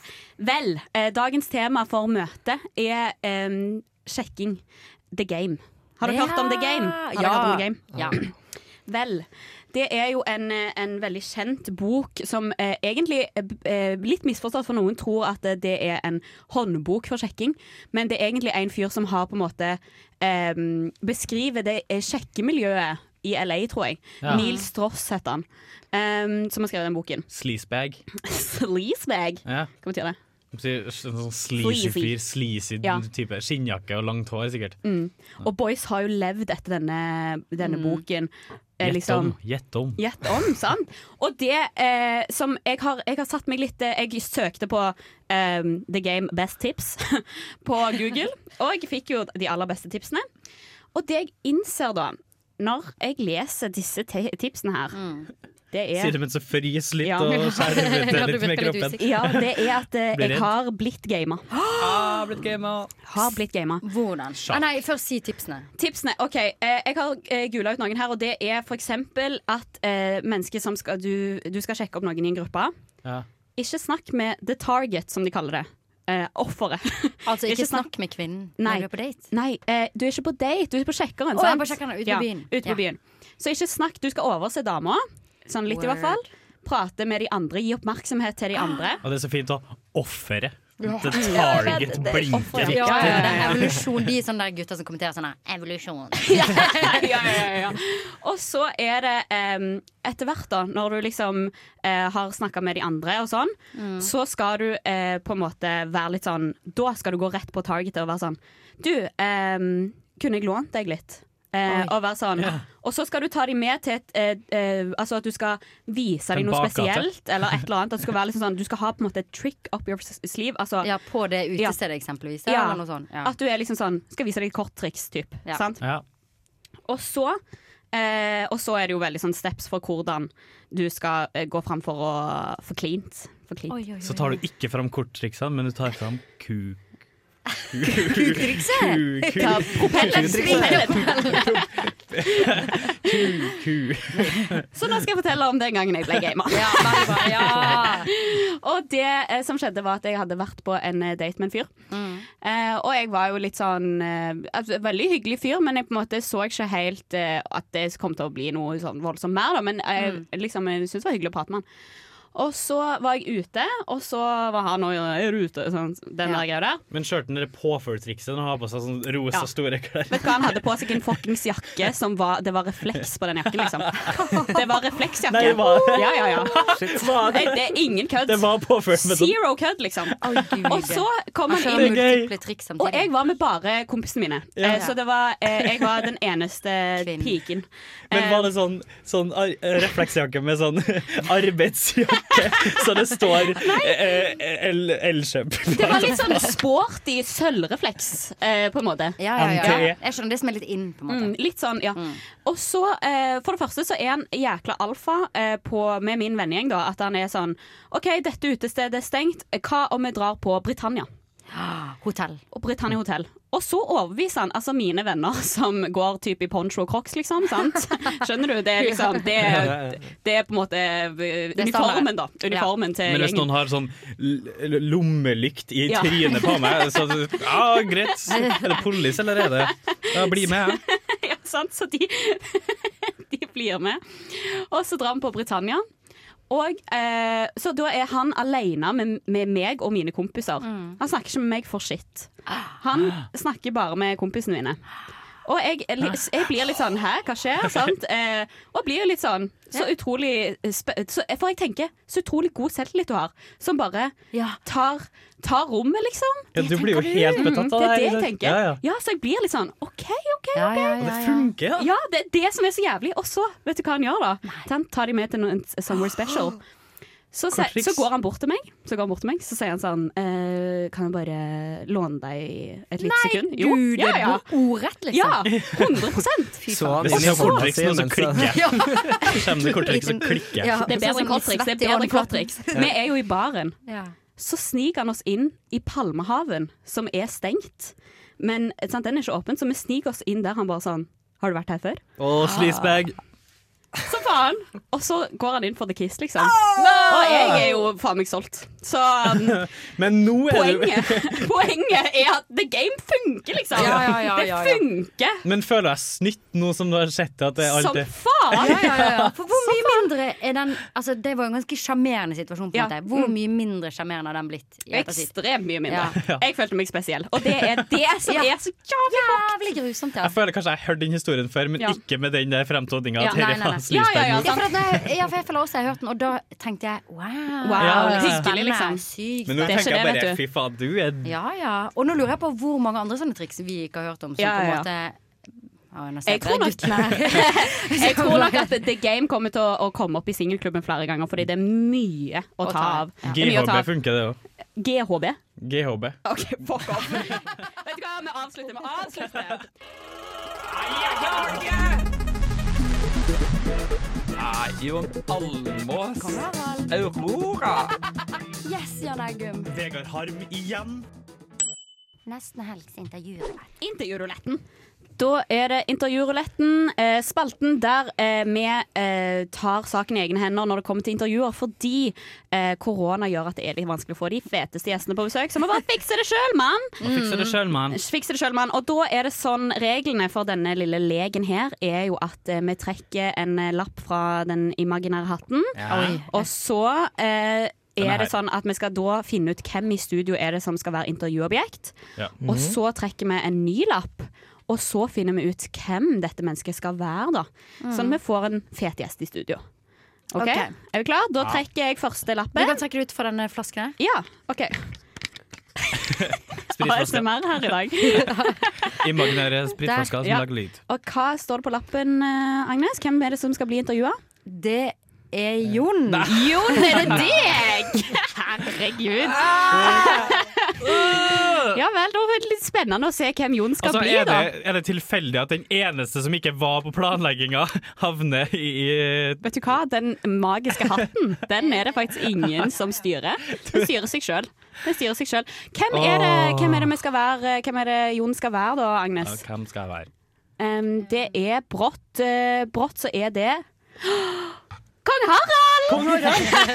[SPEAKER 2] Vel, eh, dagens tema for møtet er em, sjekking. The Game. Har dere
[SPEAKER 5] Ja.
[SPEAKER 2] hørt om The Game? Har dere
[SPEAKER 5] Ja.
[SPEAKER 2] hørt om The Game?
[SPEAKER 5] Ja.
[SPEAKER 2] Vel, det er jo en, eh, en veldig kjent bok som eh, egentlig er b- eh, litt misforstått, for noen tror at eh, det er en håndbok for sjekking, men det er egentlig en fyr som har på en måte eh, beskriver det eh, sjekkemiljøet i LA, tror jeg.
[SPEAKER 6] Ja.
[SPEAKER 2] Neil Stross heter han, eh, som har skrevet den boken.
[SPEAKER 6] Sleazebag.
[SPEAKER 2] Sleazebag,
[SPEAKER 6] Ja.
[SPEAKER 2] hva betyr det?
[SPEAKER 6] Sånn sånn
[SPEAKER 2] Sleazy.
[SPEAKER 6] sleazy fyr. Sleazy
[SPEAKER 2] Ja.
[SPEAKER 6] type. Skinnjakke og langt hår, sikkert.
[SPEAKER 2] Mm. Og Boys har jo levd etter denne, denne boken. eh,
[SPEAKER 6] Mm. Gjett
[SPEAKER 2] liksom-
[SPEAKER 6] om. Gjett om.
[SPEAKER 2] Gjett om, sant? Og det eh, som jeg har, jeg har satt meg litt eh, Jeg søkte på eh, The Game Best Tips på Google, og jeg fikk jo de aller beste tipsene. Og det jeg innser da, når jeg leser disse te tipsene her,
[SPEAKER 6] Mm.
[SPEAKER 2] det er
[SPEAKER 6] Sier det mens det frys litt
[SPEAKER 2] Ja.
[SPEAKER 6] og skjærer ut
[SPEAKER 2] Ja,
[SPEAKER 6] det
[SPEAKER 2] du
[SPEAKER 6] litt
[SPEAKER 2] virker
[SPEAKER 6] med
[SPEAKER 2] litt
[SPEAKER 6] kroppen.
[SPEAKER 2] usikker. Ja, det er at eh,
[SPEAKER 6] Blir
[SPEAKER 2] jeg
[SPEAKER 6] redd.
[SPEAKER 2] har blitt gama.
[SPEAKER 6] Ah, blitt gama.
[SPEAKER 2] Har blitt gama.
[SPEAKER 5] Hvordan? Ah, nei, først si tipsene.
[SPEAKER 2] Tipsene, ok eh, Jeg har eh, gula ut noen her, og det er for eksempel at eh, mennesker som skal du, du skal sjekke opp noen i en gruppe.
[SPEAKER 6] Ja.
[SPEAKER 2] Ikke snakk med the target, som de kaller det. Eh, offeret.
[SPEAKER 5] Altså, ikke snakk med kvinnen
[SPEAKER 2] Nei.
[SPEAKER 5] når du er på date.
[SPEAKER 2] Nei, eh, du er ikke på date, du er på sjekkeren.
[SPEAKER 5] Å, jeg er
[SPEAKER 2] sant?
[SPEAKER 5] på sjekkeren, ute på
[SPEAKER 2] ja,
[SPEAKER 5] byen.
[SPEAKER 2] Ute på
[SPEAKER 5] Ja.
[SPEAKER 2] byen. Så ikke snakk, du skal overse dama. Sånn litt i hvert fall. Prate med de andre, gi oppmerksomhet til de andre.
[SPEAKER 6] Og det er så fint å offeret.
[SPEAKER 5] Ja. Ja,
[SPEAKER 6] The
[SPEAKER 5] det er- det
[SPEAKER 6] target
[SPEAKER 5] er
[SPEAKER 6] blinker
[SPEAKER 5] offeret.
[SPEAKER 6] ikke.
[SPEAKER 5] Ja, ja, ja, det er evolusjon. De er sånne der gutter som kommenterer sånn her, evolusjon.
[SPEAKER 2] ja, ja, ja. Og så er det em, etter hvert, da, når du liksom eh, har snakka med de andre og sånn,
[SPEAKER 9] Mm.
[SPEAKER 2] så skal du eh, på en måte være litt sånn Da skal du gå rett på targetet og være sånn Du, em, kunne jeg lånt deg litt? Eh,
[SPEAKER 9] Oi.
[SPEAKER 2] og være sånn
[SPEAKER 9] Ja.
[SPEAKER 2] Og så skal du ta dem med til et eh, eh, Altså at du skal vise
[SPEAKER 9] En
[SPEAKER 2] dem noe
[SPEAKER 9] bakgate.
[SPEAKER 2] spesielt, eller et eller annet. At det skal være liksom sånn, du skal ha på en måte et trick up your s- sleeve. Altså,
[SPEAKER 5] ja, på det utestedet eksempelvis, ja, eller noe sånt, ja.
[SPEAKER 2] At du er liksom sånn Skal vise deg et korttriks, type. Sant?
[SPEAKER 6] Ja.
[SPEAKER 2] Og så Eh, og så er det jo veldig sånn steps for hvordan du skal eh, gå fram for å for cleant. For cleant.
[SPEAKER 6] Så tar du ikke fram korttriksa, men du tar fram ku...
[SPEAKER 5] Kutrikset!
[SPEAKER 6] Ku- ku-
[SPEAKER 5] Ta propellen,
[SPEAKER 6] kutrikset.
[SPEAKER 2] propellen.
[SPEAKER 6] Ku- ku.
[SPEAKER 2] Så nå skal jeg fortelle om den gangen jeg ble gamer. Og det eh, som skjedde, var at jeg hadde vært på en eh, date med en fyr. Eh, og jeg var jo litt sånn eh, altså, Veldig hyggelig fyr, men jeg på en måte så ikke helt eh, at det kom til å bli noe sånn voldsomt mer, da. Men jeg, liksom, jeg syntes det var hyggelig å prate med han. Og så var jeg ute, og så var han òg i rute, sånn, den der greia der.
[SPEAKER 6] Men skjørte dere påførtrikset når han har på seg sånn rosa
[SPEAKER 2] Ja.
[SPEAKER 6] store klær?
[SPEAKER 2] Vet du hva, han hadde på seg en fuckings jakke som var Det var refleks på den jakken, liksom. Det var refleksjakke.
[SPEAKER 6] Nei, hva?
[SPEAKER 2] Ja, ja, ja.
[SPEAKER 6] Shit.
[SPEAKER 2] Nei, det er ingen kødd.
[SPEAKER 6] Det var påført med den.
[SPEAKER 2] Zero kødd, liksom. og så
[SPEAKER 5] Han
[SPEAKER 2] kom han
[SPEAKER 5] kjører
[SPEAKER 2] inn.
[SPEAKER 5] Altså, multiple triks
[SPEAKER 2] Og
[SPEAKER 5] samtidig.
[SPEAKER 2] jeg var med bare kompisene mine.
[SPEAKER 6] Ja.
[SPEAKER 2] Eh, Så det var, eh, jeg var den eneste piken.
[SPEAKER 6] Men var det sånn, sånn ar refleksjakke med sånn arbeidsjakke, så det står eh, eh, el- Elkjøp?
[SPEAKER 2] Det var litt sånn sporty sølvrefleks, eh, på en måte.
[SPEAKER 5] Ja, ja, ja.
[SPEAKER 6] MTE.
[SPEAKER 5] Jeg skjønner det som er litt inn, på en måte.
[SPEAKER 2] Mm, litt sånn, ja. Og så, eh, for det første, så er han jækla alfa eh, på, med min vennegjeng, da. At han er sånn OK, dette utestedet er stengt. Hva om vi drar på Britannia?
[SPEAKER 5] Ah, Hotell.
[SPEAKER 2] Og Britannia hotell. Og så overbeviser han altså mine venner som går typ i poncho og crocs, liksom. Sant? Skjønner du? Det er liksom Det, er- det er på en måte eh,
[SPEAKER 5] er
[SPEAKER 2] uniformen,
[SPEAKER 5] standard.
[SPEAKER 2] da. Uniformen til
[SPEAKER 6] Men hvis noen har sånn l- l- lommelykt i
[SPEAKER 2] Ja.
[SPEAKER 6] trynet på meg, så ja, greit. Er det police, eller er det Ja, bli med, ja.
[SPEAKER 2] ja, sant? Så de, de blir med. Og så drar vi på Britannia. Og, eh, så da er han alene med, med meg og mine kompiser. Han snakker ikke med meg for shit. Han snakker bare med kompisene mine. Og jeg, er li- jeg blir litt sånn Hæ, hva skjer? Sant? Eh, og blir litt sånn Så utrolig spe så, For jeg tenker så utrolig god selvtillit du har, som bare tar, tar rommet, liksom.
[SPEAKER 6] Ja, du blir jo helt betatt av
[SPEAKER 2] det. er det
[SPEAKER 6] det her,
[SPEAKER 2] jeg
[SPEAKER 6] ikke sant?
[SPEAKER 2] tenker.
[SPEAKER 6] Ja,
[SPEAKER 2] Ja,
[SPEAKER 6] ja.
[SPEAKER 2] så jeg blir litt sånn OK, OK, OK.
[SPEAKER 6] Det funker, ja.
[SPEAKER 2] Ja, det er det som er så jævlig. Og så, vet du hva han gjør da? Han tar de med til noen Somewhere Special. Så, se,
[SPEAKER 6] Korttriks.
[SPEAKER 2] så går han bort til meg, så går han bort til meg, så sier han sånn eh, Kan jeg bare låne deg et lite sekund? Jo.
[SPEAKER 5] Gud, det
[SPEAKER 2] ja,
[SPEAKER 5] er
[SPEAKER 2] ja.
[SPEAKER 5] ordrett,
[SPEAKER 2] Ja,
[SPEAKER 5] liksom.
[SPEAKER 2] 100
[SPEAKER 3] faen.
[SPEAKER 6] Hvis jeg
[SPEAKER 3] Så-
[SPEAKER 6] har korttriks nå, så
[SPEAKER 3] så-
[SPEAKER 6] klikker jeg.
[SPEAKER 5] Ja.
[SPEAKER 6] Kommer det korttriks, så liksom, klikker jeg.
[SPEAKER 5] Ja.
[SPEAKER 2] Det er bedre enn korttriks. Det er bedre enn korttriks.
[SPEAKER 5] Ja.
[SPEAKER 2] Vi er jo i baren.
[SPEAKER 5] Ja.
[SPEAKER 2] Så sniker han oss inn i Palmehaven, som er stengt. Men sant, den er ikke åpen, så vi sniker oss inn der. Han bare sånn Har du vært her før?
[SPEAKER 6] Og sleazebag.
[SPEAKER 2] Så faen. Og så går han inn for the kiss, liksom. Og jeg er jo faen meg solgt. Så um,
[SPEAKER 6] Men nå er du
[SPEAKER 2] poenget, poenget er at the game funker, liksom.
[SPEAKER 6] Ja, ja, ja, ja, ja.
[SPEAKER 2] Det funker
[SPEAKER 6] Men føler jeg snytt nå som du har sett at det er alt
[SPEAKER 2] som
[SPEAKER 6] det
[SPEAKER 2] faen.
[SPEAKER 5] Ja, ja, ja, ja. For hvor mye mindre er den altså, Det var jo en ganske sjarmerende situasjon. På en
[SPEAKER 2] Ja. Mm.
[SPEAKER 5] måte. Hvor mye mindre sjarmerende har den blitt? i ettertid?
[SPEAKER 2] Ekstremt mye mindre.
[SPEAKER 6] Ja.
[SPEAKER 2] Jeg følte meg spesiell, og det er det som
[SPEAKER 5] Ja.
[SPEAKER 2] er så jævlig
[SPEAKER 5] Jævlig grusomt, ja.
[SPEAKER 6] Jeg føler kanskje jeg har hørt den historien før, men
[SPEAKER 5] Ja.
[SPEAKER 6] ikke med den der fremtoninga.
[SPEAKER 5] Ja,
[SPEAKER 6] at
[SPEAKER 5] nei,
[SPEAKER 6] dette
[SPEAKER 5] nei,
[SPEAKER 6] var
[SPEAKER 5] nei.
[SPEAKER 6] sleazebag nå.
[SPEAKER 5] Ja, for, at når jeg, ja, for jeg føler også jeg har hørt den, og da tenkte jeg wow.
[SPEAKER 6] Wow, Ja, ja.
[SPEAKER 5] spennende,
[SPEAKER 6] hyggelig, liksom.
[SPEAKER 5] Sykt
[SPEAKER 6] Men nå
[SPEAKER 5] spennende.
[SPEAKER 6] tenker jeg bare fy faen, du er
[SPEAKER 5] Ja, ja. Og nå lurer jeg på hvor mange andre sånne triks vi ikke har hørt om. Som
[SPEAKER 2] Ja, ja.
[SPEAKER 5] på en måte Ja, nå ser
[SPEAKER 2] Jeg tror,
[SPEAKER 5] dere
[SPEAKER 2] nok,
[SPEAKER 5] guttene her.
[SPEAKER 2] jeg tror nok at The Game kommer til å, å komme opp i singelklubben flere ganger, fordi det er mye å
[SPEAKER 5] Å
[SPEAKER 2] ta
[SPEAKER 5] ta.
[SPEAKER 2] av. Det er mye å
[SPEAKER 6] GHB
[SPEAKER 2] ta av.
[SPEAKER 6] funker, det òg.
[SPEAKER 2] GHB?
[SPEAKER 6] GHB.
[SPEAKER 2] OK, fuck off. Vet du hva, vi avslutter. Vi avslutter.
[SPEAKER 9] Jon Almås. Aurora.
[SPEAKER 5] Yes, Jan Eggum.
[SPEAKER 6] Vegard Harm igjen.
[SPEAKER 5] Nesten helgs intervjurulett.
[SPEAKER 2] Intervjuruletten. Da er det intervjuruletten, eh, spalten der eh, vi eh, tar saken i egne hender når det kommer til intervjuer, fordi eh, korona gjør at det er litt vanskelig å få de feteste gjestene på besøk, så vi bare fikser det sjøl, mann!
[SPEAKER 6] Og fikser det sjøl, mann.
[SPEAKER 2] Fikser det selv, mann. Og da er det sånn Reglene for denne lille legen her er jo at eh, vi trekker en eh, lapp fra den imaginære hatten.
[SPEAKER 5] Ja. Oi.
[SPEAKER 2] Og så eh,
[SPEAKER 5] Den er
[SPEAKER 2] er det
[SPEAKER 5] her.
[SPEAKER 2] sånn at vi skal da finne ut hvem i studio er det som skal være intervjuobjekt.
[SPEAKER 6] Ja.
[SPEAKER 2] Og
[SPEAKER 5] Mhm.
[SPEAKER 2] så trekker vi en ny lapp. Og så finner vi ut hvem dette mennesket skal være, da.
[SPEAKER 5] Mm.
[SPEAKER 2] Sånn at vi får en fet gjest i studio. OK?
[SPEAKER 5] Ok.
[SPEAKER 2] Er vi klar? Da
[SPEAKER 5] Ja.
[SPEAKER 2] trekker jeg første
[SPEAKER 5] Du
[SPEAKER 2] lappen.
[SPEAKER 5] kan trekke det ut fra denne flasken her.
[SPEAKER 2] Ja, OK.
[SPEAKER 6] Spritflaske.
[SPEAKER 2] ASMR her i dag.
[SPEAKER 6] Imaginære spritflasker som
[SPEAKER 2] Der, ja.
[SPEAKER 6] lager lyd.
[SPEAKER 2] Og hva står det på lappen, eh, Agnes? Hvem er det som skal bli intervjua?
[SPEAKER 5] Det er
[SPEAKER 6] Eh,
[SPEAKER 5] Jon.
[SPEAKER 2] Jon, er det
[SPEAKER 6] Ah!
[SPEAKER 2] deg? Herregud. ja vel, da var jeg litt spennende å se hvem Jon skal
[SPEAKER 6] Altså,
[SPEAKER 2] bli,
[SPEAKER 6] er,
[SPEAKER 2] da.
[SPEAKER 6] det, er det tilfeldig at den eneste som ikke var på planlegginga, havner i, i
[SPEAKER 2] Vet du hva, den magiske hatten, den er det faktisk ingen som styrer. Den styrer seg sjøl. Den styrer seg selv. Hvem er det,
[SPEAKER 6] Åh.
[SPEAKER 2] hvem er det vi skal være, hvem er det Jon skal være da, Agnes?
[SPEAKER 6] Ja, Hvem skal jeg være?
[SPEAKER 2] Em, det er brått, eh, brått så er det Kong Harald!
[SPEAKER 6] Kong Harald!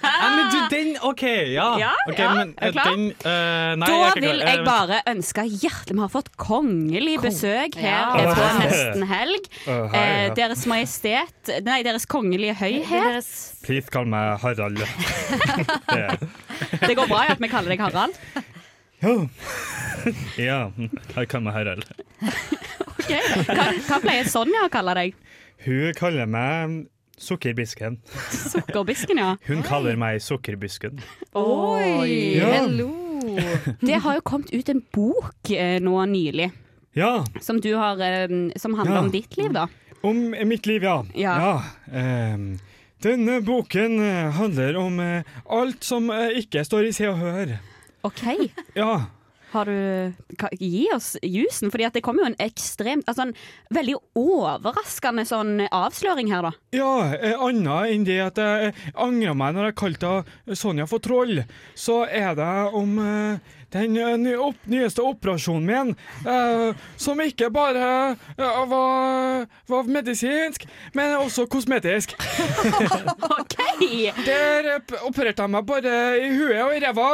[SPEAKER 6] Nei, men du, den OK, ja.
[SPEAKER 2] Ja,
[SPEAKER 6] Ok,
[SPEAKER 2] ja,
[SPEAKER 6] men,
[SPEAKER 2] er du
[SPEAKER 6] eh,
[SPEAKER 2] klar?
[SPEAKER 6] Den, eh,
[SPEAKER 2] da
[SPEAKER 6] nei, jeg er ikke klar.
[SPEAKER 2] vil
[SPEAKER 6] Eh,
[SPEAKER 2] jeg
[SPEAKER 6] vent.
[SPEAKER 2] bare ønske hjertelig Vi har fått kongelig besøk her
[SPEAKER 6] Ja.
[SPEAKER 2] på
[SPEAKER 6] Åh.
[SPEAKER 2] nesten helg.
[SPEAKER 6] Åh, hei,
[SPEAKER 2] Eh,
[SPEAKER 6] ja.
[SPEAKER 2] deres Majestet Nei, Deres Kongelige Høyhet.
[SPEAKER 6] Please kall meg Harald.
[SPEAKER 2] Det går bra at vi kaller deg Harald.
[SPEAKER 6] ja, jeg kaller meg Harald.
[SPEAKER 2] Ok, Hva, hva pleier Sonja å kalle deg?
[SPEAKER 6] Hun kaller meg Sukkerbisken.
[SPEAKER 2] Sukkerbisken, ja.
[SPEAKER 6] Hun kaller meg Sukkerbisken.
[SPEAKER 2] Oi!
[SPEAKER 6] Ja.
[SPEAKER 2] Det har jo kommet ut en bok eh, nå nylig.
[SPEAKER 6] Ja.
[SPEAKER 2] Som, du har, eh, som handler
[SPEAKER 6] Ja.
[SPEAKER 2] om ditt liv, da.
[SPEAKER 6] Om mitt liv, ja.
[SPEAKER 2] Ja.
[SPEAKER 6] ehm, denne boken eh, handler om eh, alt som eh, ikke står i Se og Hør.
[SPEAKER 2] OK.
[SPEAKER 6] Ja.
[SPEAKER 2] Har du, ka, gi oss jusen, for det kom jo en ekstremt altså en Veldig overraskende sånn avsløring her, da.
[SPEAKER 6] Ja, eh, annet enn det at jeg eh, angrer meg når jeg kalte henne Sonja for troll, så er det om eh, den eh, ny opp, nyeste operasjonen min, eh, som ikke bare eh, var, var medisinsk, men også kosmetisk.
[SPEAKER 2] OK!
[SPEAKER 6] Der eh, p- opererte jeg meg bare i huet og i ræva,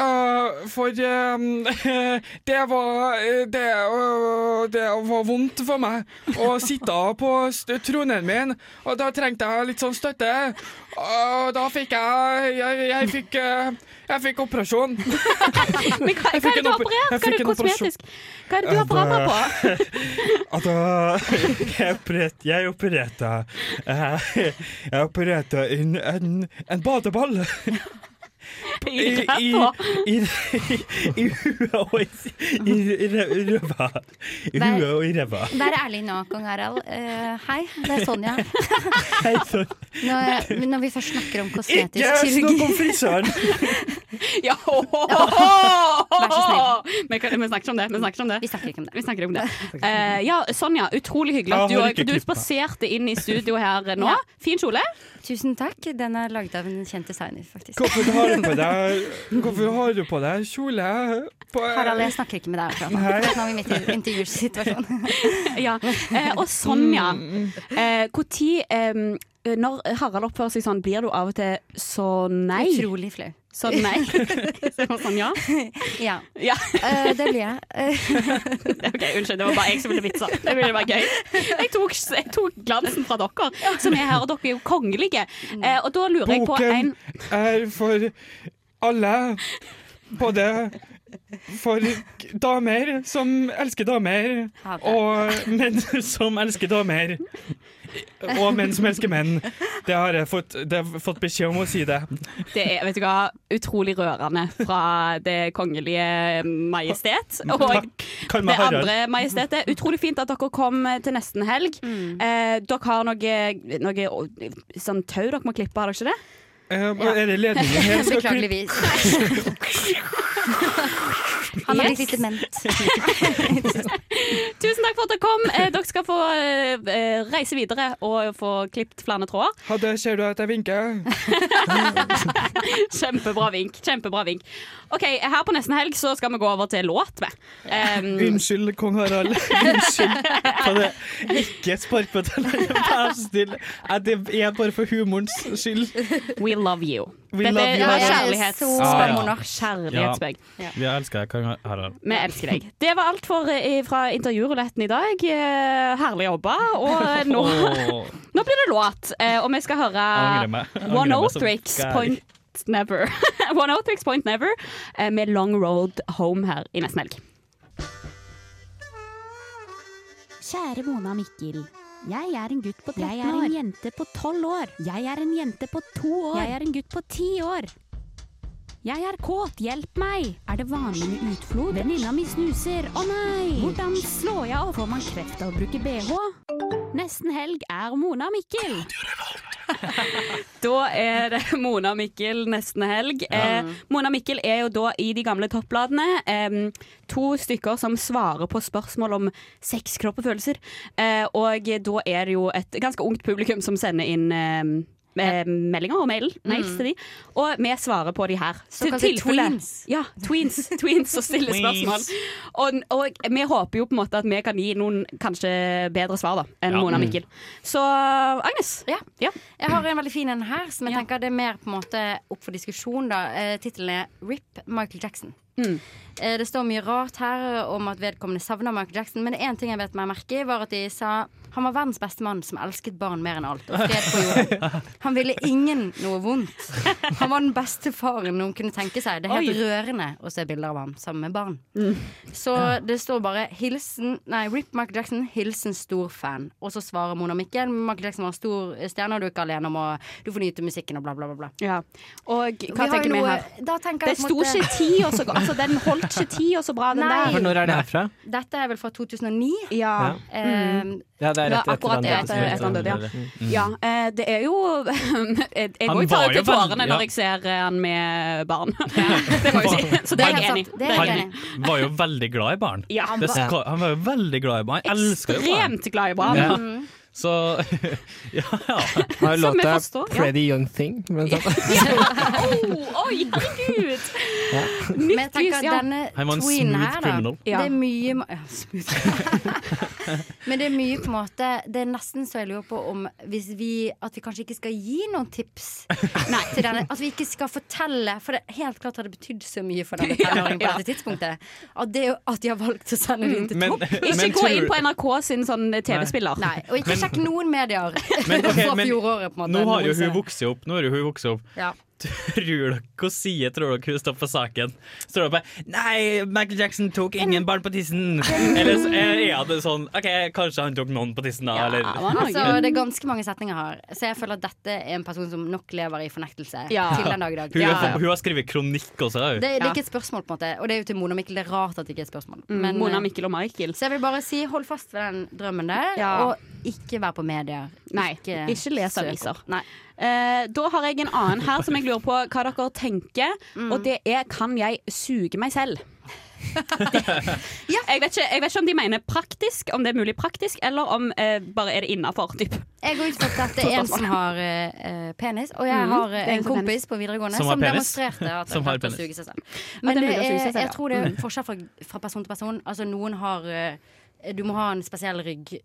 [SPEAKER 6] eh, for eh, det var eh, det, øh, det var vondt for meg å sitte på st- tronen min, og da trengte jeg litt sånn støtte. Og da fikk jeg Jeg, jeg fikk eh, jeg fikk operasjon.
[SPEAKER 2] Men hva, hva er det du har operert? Hva er det kosmetisk? Hva er det du har forandret på?
[SPEAKER 6] Altså, jeg opererte Jeg opererte, eh, jeg opererte en, en, en badeball.
[SPEAKER 2] I
[SPEAKER 6] I- i-
[SPEAKER 2] ræva?
[SPEAKER 6] I i huet og i i ræ- ræva. I
[SPEAKER 5] Vær-
[SPEAKER 6] huet og i ræva.
[SPEAKER 5] Vær ærlig nå, kong Harald. Eh, hei, det er Sonja.
[SPEAKER 6] Hei, så-
[SPEAKER 5] Når, når vi først snakker om kosmetisk
[SPEAKER 6] Ikke snakk om frisøren!
[SPEAKER 2] Ja, ho, ho, ho, ho.
[SPEAKER 5] Vær så
[SPEAKER 2] Vi, kan, vi snakker ikke om det. Vi snakker ikke om det. Vi
[SPEAKER 5] snakker ikke om det.
[SPEAKER 2] Eh, ja, Sonja, utrolig hyggelig
[SPEAKER 5] Ja,
[SPEAKER 2] at du,
[SPEAKER 5] har
[SPEAKER 2] også-
[SPEAKER 5] ikke
[SPEAKER 2] du
[SPEAKER 5] klippet.
[SPEAKER 2] spaserte inn i studio her nå.
[SPEAKER 5] Ja.
[SPEAKER 2] Fin kjole.
[SPEAKER 5] Tusen takk. Den er laget av en kjent designer, faktisk.
[SPEAKER 6] Hvorfor har du på deg Hvorfor har du på deg kjole? På,
[SPEAKER 5] Harald, jeg snakker ikke med deg akkurat nå.
[SPEAKER 6] Nei.
[SPEAKER 5] Akkurat Nå er vi midt i en intervjusituasjon.
[SPEAKER 2] Ja. Eh, og Sonja, eh, hvor tid, eh, når Harald oppfører seg sånn, blir du av og til så nei?
[SPEAKER 5] Utrolig flau.
[SPEAKER 2] Så nei? Så sånn ja?
[SPEAKER 5] Ja.
[SPEAKER 2] Ja.
[SPEAKER 5] Eh, det blir jeg.
[SPEAKER 2] OK, unnskyld. Det var bare jeg som ville vitse. Det ville være gøy. Jeg tok, jeg tok glansen fra dere som er her, og dere er jo kongelige. Eh, og da lurer jeg på en
[SPEAKER 6] Boken er for alle. Både for damer som elsker damer, og menn som elsker damer. Og menn som elsker menn. Det har jeg fått, det har jeg fått beskjed om å si det.
[SPEAKER 2] Det er vet du hva, utrolig rørende fra Det kongelige majestet. Og
[SPEAKER 6] Kall
[SPEAKER 2] det
[SPEAKER 6] meg Harald.
[SPEAKER 2] andre majestetet. Utrolig fint at dere kom til nesten helg. Eh, dere har noe, noe å, sånn tau dere må klippe, har dere ikke det?
[SPEAKER 6] Eh, Er det ledningen her? Skal klippe-
[SPEAKER 5] Beklageligvis. Han har blitt litt dement.
[SPEAKER 2] Tusen takk for at dere kom. Eh, dere skal få eh, reise videre og få klippet flere tråder.
[SPEAKER 6] Ha det, ser du at jeg vinker?
[SPEAKER 2] Kjempebra vink. kjempebra vink Ok, Her på nesten helg så skal vi gå over til låt. vi. Eh,
[SPEAKER 6] Unnskyld, kong Harald. Unnskyld. Kan jeg ikke sparke på tallerkenen? Vær så snill. Nei, Det er bare for humorens skyld.
[SPEAKER 2] We love you.
[SPEAKER 6] We
[SPEAKER 2] Dette
[SPEAKER 6] love
[SPEAKER 2] er
[SPEAKER 6] you, Harald.
[SPEAKER 2] kjærlighetsspørsmål.
[SPEAKER 6] Ah, ja.
[SPEAKER 2] Kjærlighetsspørsmål.
[SPEAKER 6] Vi elsker deg, kong Harald.
[SPEAKER 2] Vi elsker deg. Det var alt for, eh, fra intervjuruletten i dag. Eh, herlig jobba. Og eh, nå,
[SPEAKER 6] Åh.
[SPEAKER 2] nå blir det låt, eh, og vi skal
[SPEAKER 4] Ah,
[SPEAKER 6] Angrer
[SPEAKER 2] høre
[SPEAKER 6] meg. Angrer meg som
[SPEAKER 2] 103x
[SPEAKER 6] gæren.
[SPEAKER 2] Point Never. 103x Point Never eh, med Long Road Home her i nesten helg.
[SPEAKER 13] Kjære Mona og Mikkel. Jeg er en gutt på 13 år. Jeg er en jente på 12 år. Jeg er en jente på 2 år. Jeg er en gutt på 10 år. Jeg er kåt, hjelp meg! Er det vanlig med utflod? Venninna mi snuser, å nei! Hvordan slår jeg av? Får man kreft av å bruke bh? Nesten helg er Mona og Mikkel.
[SPEAKER 2] Da er det Mona og Mikkel nesten helg. Eh, Mona og Mikkel er jo da i de gamle toppbladene eh, to stykker som svarer på spørsmål om sex, kropp og følelser. Eh, og da er det jo et ganske ungt publikum som sender inn eh, med meldinger og mail, mails til de. Og vi svarer på de her. Til
[SPEAKER 5] Mm. Såkalte
[SPEAKER 2] tilfelle-
[SPEAKER 5] tweens.
[SPEAKER 2] Ja, tweens, tweens som stiller spørsmål. Og, og vi håper jo på en måte at vi kan gi noen kanskje bedre svar da, enn
[SPEAKER 5] Ja.
[SPEAKER 2] Mona og
[SPEAKER 5] Mm.
[SPEAKER 2] Mikkel. Så Agnes.
[SPEAKER 5] Ja. Jeg har en veldig fin en her, som jeg tenker det er mer på en måte opp for diskusjon. da eh, Tittelen er 'Rip Michael Jackson'. Eh, det står mye rart her om at vedkommende savner Michael Jackson, men det er én ting jeg vet meg merke i, var at de sa han var verdens beste mann som elsket barn mer enn alt. Og fred på jorden. Han ville ingen noe vondt. Han var den beste faren noen kunne tenke seg. Det er helt
[SPEAKER 1] Oi.
[SPEAKER 5] rørende å se bilder av ham sammen med barn. Så det står bare hilsen, nei, 'Rip Michael Jackson, hilsen stor fan'. Og så svarer Mona Mikkel 'Michael Jackson var en stor stjerne, og du er ikke alene om å Du får nyte musikken', og bla, bla, bla. bla.
[SPEAKER 2] Ja. Og
[SPEAKER 5] Vi
[SPEAKER 2] hva
[SPEAKER 5] har jo
[SPEAKER 2] tenker vi
[SPEAKER 5] noe-
[SPEAKER 2] her?
[SPEAKER 5] da tenker
[SPEAKER 2] det
[SPEAKER 5] jeg på en
[SPEAKER 2] sto
[SPEAKER 5] måte-
[SPEAKER 2] ikke ti år så godt. Altså, den holdt ikke ti år så bra, den
[SPEAKER 5] Nei.
[SPEAKER 2] der.
[SPEAKER 3] For når er det herfra?
[SPEAKER 5] Dette er vel fra 2009?
[SPEAKER 2] Ja.
[SPEAKER 5] Eh,
[SPEAKER 3] Ja, det er rett etter
[SPEAKER 2] akkurat
[SPEAKER 3] den
[SPEAKER 2] etter, etter,
[SPEAKER 3] døde.
[SPEAKER 2] han døde. Ja, ja
[SPEAKER 3] Mm.
[SPEAKER 2] eh, det er jo Jeg jeg
[SPEAKER 3] Han
[SPEAKER 2] går jo
[SPEAKER 3] var
[SPEAKER 2] tar ut
[SPEAKER 3] jo
[SPEAKER 2] til tårene
[SPEAKER 3] veldig- ja.
[SPEAKER 2] når jeg ser eh, han med barn. Det må jeg si. Så det
[SPEAKER 5] altså,
[SPEAKER 2] er jeg enig i. Det er jeg enig
[SPEAKER 4] Han
[SPEAKER 2] i.
[SPEAKER 4] var jo veldig glad i barn.
[SPEAKER 2] Ja, han
[SPEAKER 4] Det
[SPEAKER 2] var-
[SPEAKER 4] skal, han var jo veldig glad i barn. Han elska jo barn.
[SPEAKER 2] Ekstremt glad i barn.
[SPEAKER 4] Ja.
[SPEAKER 2] Mm.
[SPEAKER 4] Så ja, ja.
[SPEAKER 3] Har jo
[SPEAKER 2] Som jeg
[SPEAKER 3] låta
[SPEAKER 2] forstår, ja.
[SPEAKER 3] 'Pretty Young Thing'. blant annet.
[SPEAKER 2] Oh, oi, herregud!
[SPEAKER 5] Men jeg tenker
[SPEAKER 2] ja.
[SPEAKER 5] denne
[SPEAKER 3] Han var en
[SPEAKER 5] tween
[SPEAKER 3] smooth
[SPEAKER 5] her, da.
[SPEAKER 3] criminal.
[SPEAKER 5] Det er mye ma- ja, smooth. Men det er mye på en måte Det er nesten så jeg lurer på om hvis vi, at vi kanskje ikke skal gi noen tips til denne. At vi ikke skal fortelle, for det helt klart har det betydd så mye for denne tenåringen på
[SPEAKER 2] Ja, ja.
[SPEAKER 5] dette tidspunktet. At det er jo at de har valgt å sende det inn til
[SPEAKER 4] Men-
[SPEAKER 5] topp.
[SPEAKER 4] Ikke men gå tror- inn på
[SPEAKER 2] NRK sin sånn TV-spiller.
[SPEAKER 5] Nei, og ikke
[SPEAKER 4] Mm. Men-
[SPEAKER 5] sjekk noen medier
[SPEAKER 4] Men, ok,
[SPEAKER 5] fra
[SPEAKER 4] men
[SPEAKER 5] fjoråret, på en måte.
[SPEAKER 4] nå har jo
[SPEAKER 5] noensinne.
[SPEAKER 4] hun vokst opp. Nå har jo hun vokst opp.
[SPEAKER 5] ja.
[SPEAKER 4] Tror dere, Hva sier tror dere hun står for saken? Står hun bare 'Nei, Michael Jackson tok ingen barn på tissen'. Eller så er er det sånn 'OK, kanskje han tok noen på tissen', da', eller
[SPEAKER 5] Altså, det er ganske mange setninger her, så jeg føler at dette er en person som nok lever i fornektelse
[SPEAKER 4] Ja.
[SPEAKER 5] til den dag i dag.
[SPEAKER 4] Hun, har, fått- hun har skrevet kronikk også. har hun.
[SPEAKER 5] Det, det er ikke et spørsmål, på en måte. Og det er jo til Mona Mikkel. Det er rart at det ikke er et spørsmål.
[SPEAKER 2] Mm, Mona,
[SPEAKER 5] eh,
[SPEAKER 2] Mikkel og Michael.
[SPEAKER 5] Så jeg vil bare si hold fast ved den drømmen der,
[SPEAKER 2] Ja.
[SPEAKER 5] og ikke vær på medier.
[SPEAKER 2] Nei, ikke les
[SPEAKER 5] søk opp.
[SPEAKER 2] aviser.
[SPEAKER 5] Nei.
[SPEAKER 2] Eh, da har jeg en annen her som jeg lurer på hva dere tenker. Og det er 'Kan jeg suge meg selv'? jeg, vet ikke, jeg vet ikke om de mener praktisk, om det er mulig praktisk, eller om eh, bare er det innafor.
[SPEAKER 5] Jeg går ut fra at det er en som har eh, penis, og jeg
[SPEAKER 2] Mm,
[SPEAKER 5] har eh,
[SPEAKER 2] det er en
[SPEAKER 5] en
[SPEAKER 2] som har penis.
[SPEAKER 5] kompis på videregående
[SPEAKER 2] Som
[SPEAKER 5] som,
[SPEAKER 2] har penis.
[SPEAKER 5] demonstrerte at
[SPEAKER 2] Som
[SPEAKER 5] han
[SPEAKER 2] har
[SPEAKER 5] klarte å
[SPEAKER 2] penis.
[SPEAKER 5] suge seg selv.
[SPEAKER 2] Ja, det
[SPEAKER 5] Men
[SPEAKER 2] er
[SPEAKER 5] det
[SPEAKER 2] mulig å suge
[SPEAKER 5] er,
[SPEAKER 2] seg selv,
[SPEAKER 5] jeg
[SPEAKER 2] ja.
[SPEAKER 5] tror det
[SPEAKER 2] Mm.
[SPEAKER 5] er forskjell fra, fra person til person. Altså noen har eh, du må ha en spesiell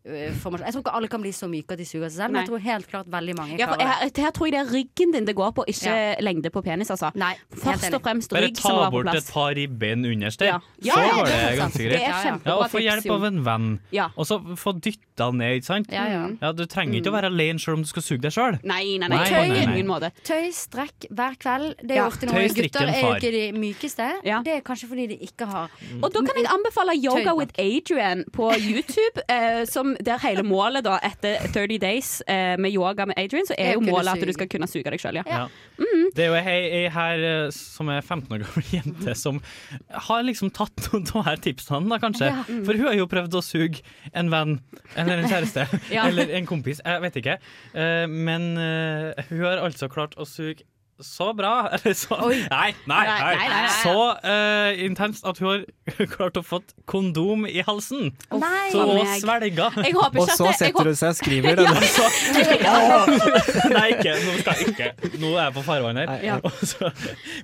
[SPEAKER 5] ryggformasjon. Jeg tror ikke alle kan bli så myke at de suger seg selv, men
[SPEAKER 2] Nei.
[SPEAKER 5] jeg tror helt klart veldig mange
[SPEAKER 2] Ja, for
[SPEAKER 5] klarer det.
[SPEAKER 2] her, her tror jeg det er ryggen din det går på, ikke
[SPEAKER 5] Ja.
[SPEAKER 2] lengde på penis. Altså. Først
[SPEAKER 5] enig.
[SPEAKER 2] og fremst
[SPEAKER 4] Bare
[SPEAKER 2] rygg som må
[SPEAKER 4] ta
[SPEAKER 2] være på
[SPEAKER 4] bort
[SPEAKER 2] plass.
[SPEAKER 4] et par ribbein underst der,
[SPEAKER 2] Ja. Ja,
[SPEAKER 4] så
[SPEAKER 2] ja,
[SPEAKER 4] var
[SPEAKER 2] det
[SPEAKER 4] det
[SPEAKER 2] er sant.
[SPEAKER 4] ganske
[SPEAKER 2] Det
[SPEAKER 4] greit.
[SPEAKER 2] er kjempebra
[SPEAKER 4] Ja, og få
[SPEAKER 2] tips,
[SPEAKER 4] hjelp
[SPEAKER 2] Jon.
[SPEAKER 4] av en venn,
[SPEAKER 2] Ja.
[SPEAKER 4] og så få dytta ned, ikke sant?
[SPEAKER 5] Ja, ja.
[SPEAKER 2] Mm.
[SPEAKER 4] du trenger ikke å være alene selv om du skal suge deg sjøl.
[SPEAKER 2] Nei, nei, nei,
[SPEAKER 4] Nei,
[SPEAKER 2] tøy,
[SPEAKER 4] nei, nei.
[SPEAKER 2] på ingen måte.
[SPEAKER 5] Tøy, strekk hver kveld. Det er
[SPEAKER 2] Ja.
[SPEAKER 5] jo ofte noe
[SPEAKER 4] Tøy, strikk
[SPEAKER 5] gutter
[SPEAKER 4] en
[SPEAKER 5] er jo
[SPEAKER 4] far.
[SPEAKER 5] ikke de mykeste. Det er kanskje fordi de ikke har
[SPEAKER 2] Og da kan jeg anbefale Yoga
[SPEAKER 5] Tøy,
[SPEAKER 2] with Adrian på YouTube, eh, som der hele målet da etter 30 days eh, med yoga med Adrian, så
[SPEAKER 4] Det
[SPEAKER 2] er
[SPEAKER 4] å
[SPEAKER 2] jo
[SPEAKER 4] kunne
[SPEAKER 2] målet at du
[SPEAKER 4] suge.
[SPEAKER 2] skal kunne suge deg sjøl, ja.
[SPEAKER 4] Ja. Det er jo ei, ei her eh, som er 15 år gammel jente som har liksom tatt noen av her tipsene, da kanskje.
[SPEAKER 9] Ja. Mm.
[SPEAKER 4] For hun har jo prøvd å suge en venn eller en kjæreste
[SPEAKER 9] Ja.
[SPEAKER 4] eller en kompis, jeg vet ikke. Eh, Men eh, hun har altså klart å suge så bra, eller så
[SPEAKER 9] Oi.
[SPEAKER 4] Nei, nei,
[SPEAKER 9] Nei,
[SPEAKER 4] nei.
[SPEAKER 9] nei, nei, nei.
[SPEAKER 4] Så eh, intenst at hun har klart å få kondom i halsen.
[SPEAKER 2] Nei.
[SPEAKER 4] så hun
[SPEAKER 2] Meg.
[SPEAKER 4] svelga.
[SPEAKER 2] Jeg håper ikke
[SPEAKER 3] Og
[SPEAKER 2] at
[SPEAKER 3] så
[SPEAKER 2] det- jeg
[SPEAKER 3] setter
[SPEAKER 2] håper-
[SPEAKER 3] hun seg og skriver den.
[SPEAKER 2] Ja.
[SPEAKER 3] altså.
[SPEAKER 4] Nei, ikke. Nå skal jeg ikke. Nå er jeg på farvann her.
[SPEAKER 2] Ja.
[SPEAKER 4] Og så-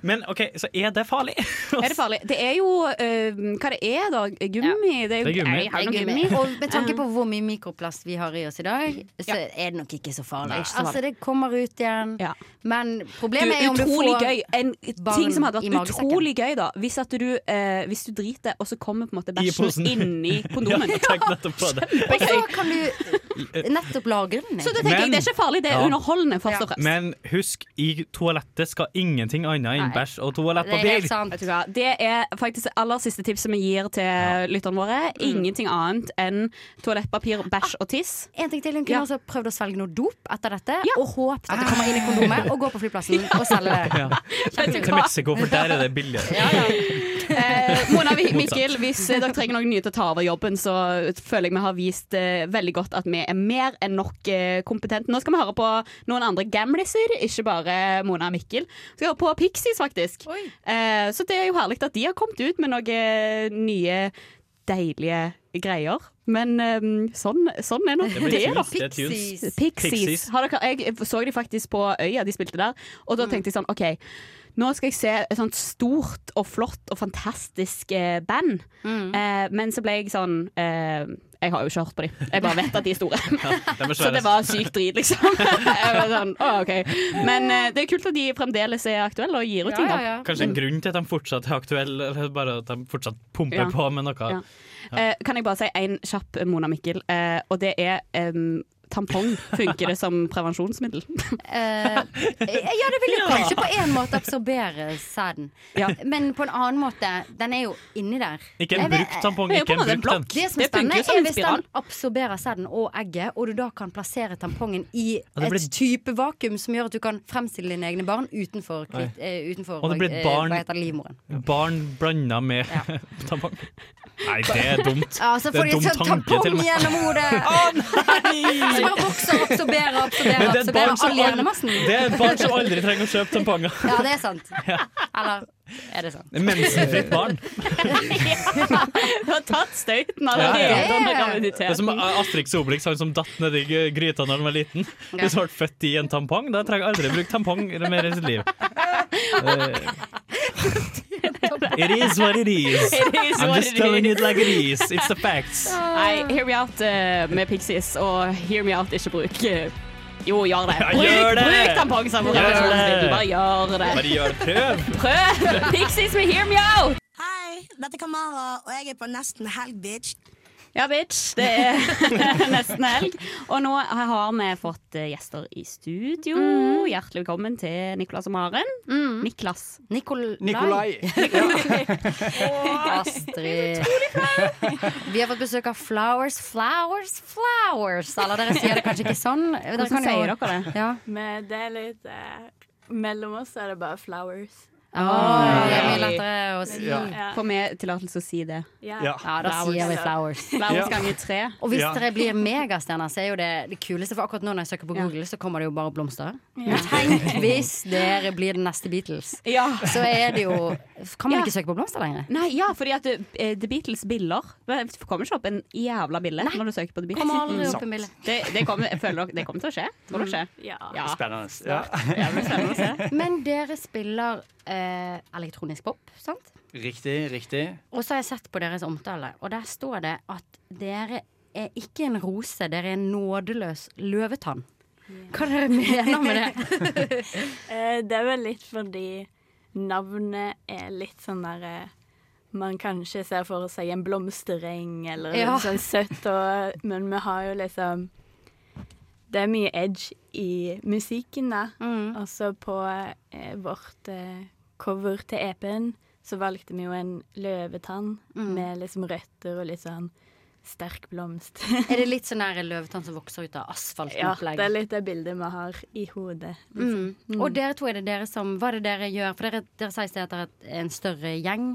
[SPEAKER 4] Men OK, så er det farlig?
[SPEAKER 2] Er det farlig? Det er jo eh, Hva det er da? Gummi? Det er
[SPEAKER 4] Det er
[SPEAKER 2] jo
[SPEAKER 4] gummi.
[SPEAKER 2] Nei, jeg har
[SPEAKER 5] Det
[SPEAKER 2] ikke
[SPEAKER 5] er
[SPEAKER 2] noe
[SPEAKER 5] gummi.
[SPEAKER 2] gummi.
[SPEAKER 5] Og med tanke på hvor mye mikroplast vi har i oss i dag, så er det nok ikke så farlig.
[SPEAKER 2] Nei, ikke så farlig.
[SPEAKER 5] Altså, det kommer ut igjen. Men
[SPEAKER 2] Du,
[SPEAKER 5] problemet er om du
[SPEAKER 2] utrolig
[SPEAKER 5] får
[SPEAKER 2] gøy. En
[SPEAKER 5] barn
[SPEAKER 2] ting som hadde
[SPEAKER 5] i
[SPEAKER 2] vært
[SPEAKER 5] magesekken.
[SPEAKER 2] utrolig gøy, da, hvis at du, eh, hvis du driter, og så kommer på en måte bæsjen inni kondomen.
[SPEAKER 4] Ja, tenk nettopp på det.
[SPEAKER 5] Og så kan du nettopp lagre den.
[SPEAKER 2] Så da tenker jeg, det er ikke farlig, det er
[SPEAKER 4] Ja.
[SPEAKER 2] underholdende, først og fremst.
[SPEAKER 4] Men husk, i toalettet skal ingenting annet enn bæsj og toalettpapir.
[SPEAKER 2] Vet du hva? Det er faktisk det aller siste tipset vi gir til lytterne våre.
[SPEAKER 4] Mm.
[SPEAKER 2] Ingenting annet enn toalettpapir, bæsj og tiss.
[SPEAKER 5] En ting til, Hun kunne
[SPEAKER 2] Ja.
[SPEAKER 5] også prøvd å svelge noe dop etter dette, og håpet at det kommer inn i
[SPEAKER 2] Ah.
[SPEAKER 5] kondomet, og går på flyplassen og selger det.
[SPEAKER 4] Ja.
[SPEAKER 5] Vet du
[SPEAKER 4] Til
[SPEAKER 5] hva?
[SPEAKER 4] Mexico, for der er det billigere.
[SPEAKER 2] Eh, Eh, Mona Vi- Mikkel, hvis eh, dere trenger noen nye til å ta over jobben, så føler jeg vi har vist eh, veldig godt at vi er mer enn nok eh, kompetente. Nå skal vi høre på noen andre gamliser, ikke bare Mona og Mikkel. Vi skal høre på Pixies, faktisk. Eh, så det er jo herlig at de har kommet ut med noen nye, deilige greier. Men eh, sånn, sånn er nå
[SPEAKER 4] Det blir
[SPEAKER 2] det, da.
[SPEAKER 4] tunes, det er tunes.
[SPEAKER 2] Pixies. Pixies.
[SPEAKER 4] Pixies.
[SPEAKER 2] Har dere, jeg så de faktisk på Øya, de spilte der. Og da tenkte jeg sånn OK, nå skal jeg se et sånt stort og flott og fantastisk eh, band. Eh, men så ble jeg sånn eh, Jeg har jo ikke hørt på dem. Jeg bare vet at de er store.
[SPEAKER 4] de er
[SPEAKER 2] så det
[SPEAKER 4] svære.
[SPEAKER 2] var sykt drit, liksom. jeg var sånn, «Å, ok». Men eh, det er kult at de fremdeles er aktuelle og gir ut ting. da.
[SPEAKER 4] Kanskje en grunn til at de fortsatt er aktuelle, eller bare at de fortsatt pumper
[SPEAKER 2] Ja.
[SPEAKER 4] på med noe.
[SPEAKER 2] Ja. Eh, kan jeg bare si én kjapp Mona Mikkel, eh, og det er em, Tampong, funker det som prevensjonsmiddel?
[SPEAKER 5] Eh, ja, det vil jo kanskje på en måte absorbere sæden. Men på en annen måte, den er jo inni der.
[SPEAKER 4] Ikke en
[SPEAKER 5] Jeg vet-
[SPEAKER 4] brukt tampong, Det er jo på ikke en en måte en brukt blokk. den.
[SPEAKER 5] Det som er
[SPEAKER 4] Det funker
[SPEAKER 5] spennende,
[SPEAKER 4] jo som
[SPEAKER 5] er
[SPEAKER 4] en
[SPEAKER 5] hvis
[SPEAKER 4] spiral.
[SPEAKER 5] den absorberer sæden og egget, og du da kan plassere tampongen i
[SPEAKER 4] Ja, det blir-
[SPEAKER 5] et type vakuum som gjør at du kan fremstille dine egne barn utenfor, kvitt, eh, utenfor
[SPEAKER 4] Og det blir et
[SPEAKER 5] eh,
[SPEAKER 4] barn-
[SPEAKER 5] hva heter det, livmoren.
[SPEAKER 4] Barn blanda med tampong. Nei, det er dumt.
[SPEAKER 5] Ja, så
[SPEAKER 4] det
[SPEAKER 5] får
[SPEAKER 4] er
[SPEAKER 5] de sånn tampong gjennom hodet! Så bare vokser, absorberer, absorberer,
[SPEAKER 4] Men det er et barn
[SPEAKER 5] absorberer
[SPEAKER 4] som
[SPEAKER 5] all
[SPEAKER 4] aldri-
[SPEAKER 5] hjernemassen.
[SPEAKER 4] Det er et barn som aldri trenger å kjøpe tamponger.
[SPEAKER 5] Ja, det er sant. Eller er det sant?
[SPEAKER 4] Mensenfritt barn.
[SPEAKER 2] Du har tatt støyten
[SPEAKER 4] Ja,
[SPEAKER 2] allerede
[SPEAKER 4] ja.
[SPEAKER 2] under
[SPEAKER 4] Det er som
[SPEAKER 2] graviditeten.
[SPEAKER 4] Astrix Obelix, han som datt nedi gryta da han var liten.
[SPEAKER 2] Ja.
[SPEAKER 4] Hvis han ble født i en tampong, da trenger han aldri bruke tampong mer i sitt liv. Eh, It is what it is.
[SPEAKER 2] It is
[SPEAKER 4] I'm
[SPEAKER 2] what
[SPEAKER 4] just
[SPEAKER 2] it
[SPEAKER 4] telling
[SPEAKER 2] is.
[SPEAKER 4] it like it is. It's the facts.
[SPEAKER 2] Nei, hear me out eh, med Pixies, og hear me out, ikke bruk eh, Jo, gjør det.
[SPEAKER 4] Ja,
[SPEAKER 2] Bruk,
[SPEAKER 4] gjør det.
[SPEAKER 2] bruk tampong som
[SPEAKER 4] Gjør det.
[SPEAKER 2] prevensjonsmiddel. Bare gjør det.
[SPEAKER 4] Bare gjør det. Prøv.
[SPEAKER 2] Prøv! Pixies med hear me out!
[SPEAKER 1] Hei, dette er Kamara, og jeg er på Nesten Helg, bitch.
[SPEAKER 2] Ja, bitch. Det er nesten helg. Og nå har vi fått eh, gjester i studio.
[SPEAKER 5] Mm.
[SPEAKER 2] Hjertelig velkommen til Niklas og Maren. Niklas.
[SPEAKER 5] Nikol
[SPEAKER 14] Nikolai.
[SPEAKER 5] Astrid. Vi har fått besøk av Flowers, Flowers, Flowers. Eller dere sier det kanskje ikke sånn? Dere
[SPEAKER 2] Hvordan
[SPEAKER 5] kan jo-
[SPEAKER 2] sier dere det?
[SPEAKER 5] Ja.
[SPEAKER 15] Men det er litt eh, Mellom oss er det bare flowers.
[SPEAKER 5] Åh, det er mye lettere å si.
[SPEAKER 15] Ja.
[SPEAKER 2] Får vi tillatelse å si det?
[SPEAKER 15] Ja.
[SPEAKER 5] Ja. Ja, da sier vi Flowers.
[SPEAKER 2] Flowers
[SPEAKER 5] Ja.
[SPEAKER 2] ganger tre.
[SPEAKER 5] Og hvis
[SPEAKER 2] Ja.
[SPEAKER 5] dere blir megastjerner, så er jo det det kuleste. For akkurat nå når jeg søker på Google, så kommer det jo bare blomster.
[SPEAKER 2] Ja.
[SPEAKER 5] Men tenk hvis dere blir den neste Beatles.
[SPEAKER 2] Ja.
[SPEAKER 5] Så er det jo Kan man
[SPEAKER 2] Ja.
[SPEAKER 5] ikke søke på blomster lenger?
[SPEAKER 2] Nei, ja, fordi at eh, The Beatles biller Det kommer ikke opp en jævla bille når du søker på The Beatles.
[SPEAKER 5] Kommer aldri opp en bille.
[SPEAKER 2] Det, det, kommer, jeg føler, dere- det kommer til å skje. Tror dere ikke?
[SPEAKER 15] Ja.
[SPEAKER 14] Spennende. Ja.
[SPEAKER 5] Men dere spiller eh, elektronisk pop, sant?
[SPEAKER 14] Riktig, riktig.
[SPEAKER 5] Og så har jeg sett på deres omtale, og der står det at dere er ikke en rose, dere er en nådeløs løvetann. Hva dere mener med det?
[SPEAKER 15] Eh, det er vel litt fordi navnet er litt sånn der eh, Man kanskje ser for seg en blomstereng eller
[SPEAKER 5] Ja.
[SPEAKER 15] noe sånn søtt, og, men vi har jo liksom Det er mye edge i musikken, da.
[SPEAKER 5] Mm.
[SPEAKER 15] Også Altså, på eh, vårt eh, cover til EP-en så valgte vi jo en løvetann med liksom røtter og litt sånn sterk blomst.
[SPEAKER 5] Er det litt sånn der løvetann som vokser ut av asfalt?
[SPEAKER 15] ja, det er litt det bildet vi har i hodet.
[SPEAKER 5] Mm.
[SPEAKER 15] Mm.
[SPEAKER 5] Og dere to, er det dere som Hva er det dere gjør? For dere, dere sier i sted at dere er en større gjeng,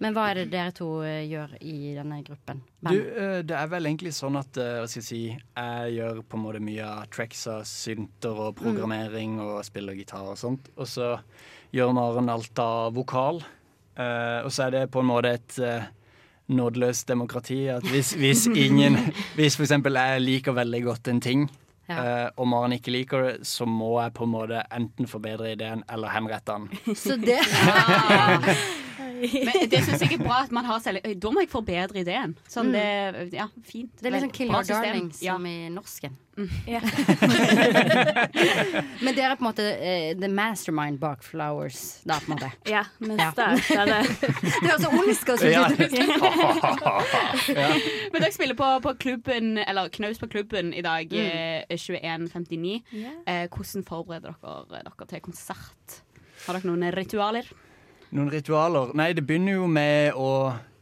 [SPEAKER 5] men hva er det dere to eh, gjør i denne gruppen?
[SPEAKER 14] Du, eh, det er vel egentlig sånn at eh, hva skal jeg, si, jeg gjør på en måte mye av tracks og synter
[SPEAKER 2] Mm.
[SPEAKER 14] og programmering og spiller gitar og sånt. Og så gjør Maren alt av vokal. Eh, og så er det på en måte et eh, nådeløst demokrati. At hvis, hvis ingen Hvis for eksempel jeg liker veldig godt en ting, eh, og Maren ikke liker det, så må jeg på en måte enten forbedre ideen eller henrette den.
[SPEAKER 5] Så det
[SPEAKER 2] Men det syns jeg er bra at man har selv... Øy, Da må jeg forbedre ideen. Sånn, det, liksom- ja, fint.
[SPEAKER 5] Det er litt sånn Kill
[SPEAKER 2] Bra
[SPEAKER 5] Your
[SPEAKER 2] system.
[SPEAKER 5] Darling
[SPEAKER 2] Ja.
[SPEAKER 5] som i norsken.
[SPEAKER 15] Ja.
[SPEAKER 5] Men dere er på en måte eh, the mastermind bak Flowers, da, på en måte.
[SPEAKER 15] Ja, vi
[SPEAKER 5] Ja.
[SPEAKER 15] starta det.
[SPEAKER 5] Det høres så ondskast ut.
[SPEAKER 14] ja.
[SPEAKER 2] Men dere spiller på, på klubben, eller Knaus på klubben i dag, eh, 21.59. Eh, hvordan forbereder dere dere til konsert? Har dere noen ritualer?
[SPEAKER 14] Noen ritualer? Nei, det begynner jo med å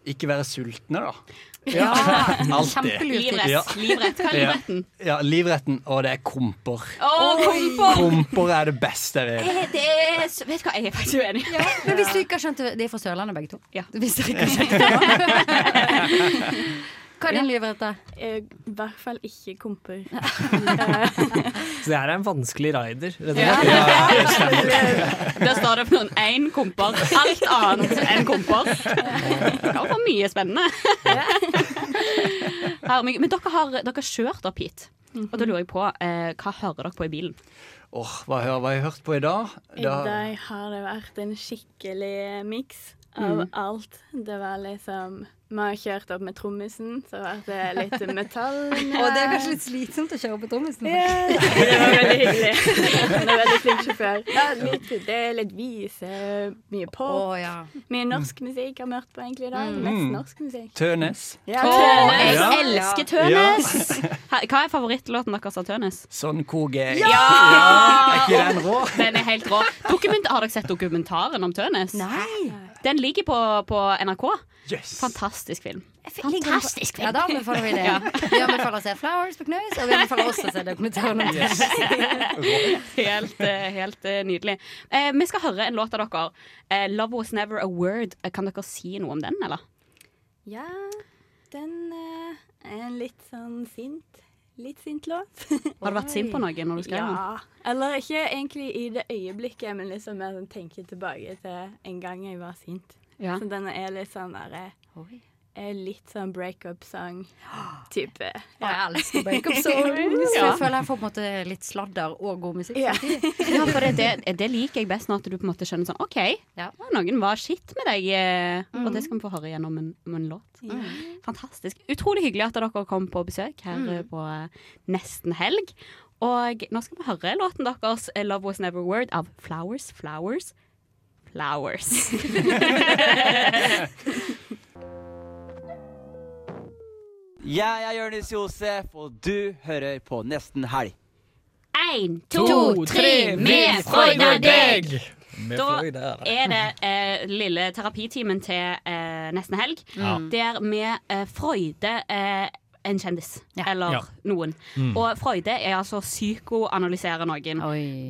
[SPEAKER 14] ikke være sultne, da. Ja, alltid.
[SPEAKER 2] Livrett.
[SPEAKER 14] Ja.
[SPEAKER 2] Livrett. Hva er
[SPEAKER 14] Ja.
[SPEAKER 2] livretten?
[SPEAKER 14] Ja, livretten, og det er komper.
[SPEAKER 2] Å, komper!
[SPEAKER 14] Komper er det beste jeg vet.
[SPEAKER 5] Eh, Det er, s- vet du hva, jeg er faktisk uenig. men hvis du ikke har skjønt det, det er fra Sørlandet begge to. Hvis dere ikke har skjønt det. Hva er din livrett, da?
[SPEAKER 15] I hvert fall ikke komper.
[SPEAKER 3] Så det her er en vanskelig rider. rett og
[SPEAKER 2] Ja.
[SPEAKER 3] slett.
[SPEAKER 2] Der står det på den én komper. Alt annet enn komper. Det var for mye spennende. Herregud. Men dere har, dere har kjørt opp hit. Og da lurer jeg på, eh, hva hører dere på i bilen?
[SPEAKER 14] Åh, hva har hva har jeg hørt på i dag?
[SPEAKER 15] I dag har det vært en skikkelig eh, miks av
[SPEAKER 14] Mhm.
[SPEAKER 15] alt. Det var liksom Vi har kjørt opp med trommisen, så har det vært litt metall.
[SPEAKER 5] Og det er kanskje litt slitsomt å kjøre på trommisen.
[SPEAKER 15] Ja, det var veldig hyggelig. Han er veldig flink sjåfør. Ja, litt, det er litt vise, mye pop.
[SPEAKER 5] Å, ja.
[SPEAKER 15] Mye norsk musikk har vi hørt på egentlig i dag.
[SPEAKER 14] Mm.
[SPEAKER 15] Mest norsk musikk.
[SPEAKER 14] Tønes.
[SPEAKER 15] Ja,
[SPEAKER 2] Å,
[SPEAKER 15] Tønes.
[SPEAKER 2] jeg
[SPEAKER 14] Ja. Ja.
[SPEAKER 2] elsker Tønes! Her- Hva er favorittlåten deres av Tønes?
[SPEAKER 14] Sånn koge
[SPEAKER 2] Ja!
[SPEAKER 14] Er ikke den rå?
[SPEAKER 2] Den er helt rå. Dokument, har dere sett dokumentaren om Tønes? Nei. Den ligger på, på NRK. Fantastisk film. Fantastisk film.
[SPEAKER 5] Ja, da anbefaler vi det.
[SPEAKER 2] Ja.
[SPEAKER 5] Vi anbefaler å se Flowers på Knaus, og vi anbefaler også å se dokumentaren om
[SPEAKER 2] Yes.
[SPEAKER 5] Tønnes.
[SPEAKER 2] Helt, eh, helt eh, nydelig. Eh, vi skal høre en låt av dere. Eh, 'Love Was Never A Word'. Eh, Kan dere si noe om den, eller?
[SPEAKER 15] Ja, den eh, er en litt sånn sint. Litt sint låt.
[SPEAKER 2] Har du vært sint på noen når du skrev den?
[SPEAKER 15] Ja. Eller ikke egentlig i det øyeblikket, men liksom mer sånn tenke tilbake til en gang jeg var sint.
[SPEAKER 2] Ja.
[SPEAKER 15] Så den er litt sånn derre Litt sånn breakup-sang-type.
[SPEAKER 5] Og jeg elsker breakup songs.
[SPEAKER 15] Ja.
[SPEAKER 5] Jeg føler jeg får på en måte litt sladder og god musikk.
[SPEAKER 2] Ja.
[SPEAKER 5] samtidig.
[SPEAKER 2] Ja, for det, det, det liker jeg best, når at du på en måte skjønner sånn OK, noen var shit med deg, eh, og det skal vi få høre gjennom en, om en låt. Mm. Fantastisk. Utrolig hyggelig at dere kom på besøk her
[SPEAKER 5] Mm.
[SPEAKER 2] eh, på eh, nesten helg. Og nå skal vi høre låten deres eh, 'Love Was Never a Word' av Flowers, Flowers, Flowers.
[SPEAKER 16] Jeg er Jonis Josef, og du hører på Nesten Helg.
[SPEAKER 2] Én, to, tre, vi freuder deg! Da er det eh, lille terapitimen til eh, nesten helg,
[SPEAKER 13] Ja.
[SPEAKER 2] der vi eh, freuder eh, en kjendis. Eller
[SPEAKER 13] Ja.
[SPEAKER 2] noen.
[SPEAKER 13] Mm.
[SPEAKER 2] Og freude er altså psykoanalysere noen.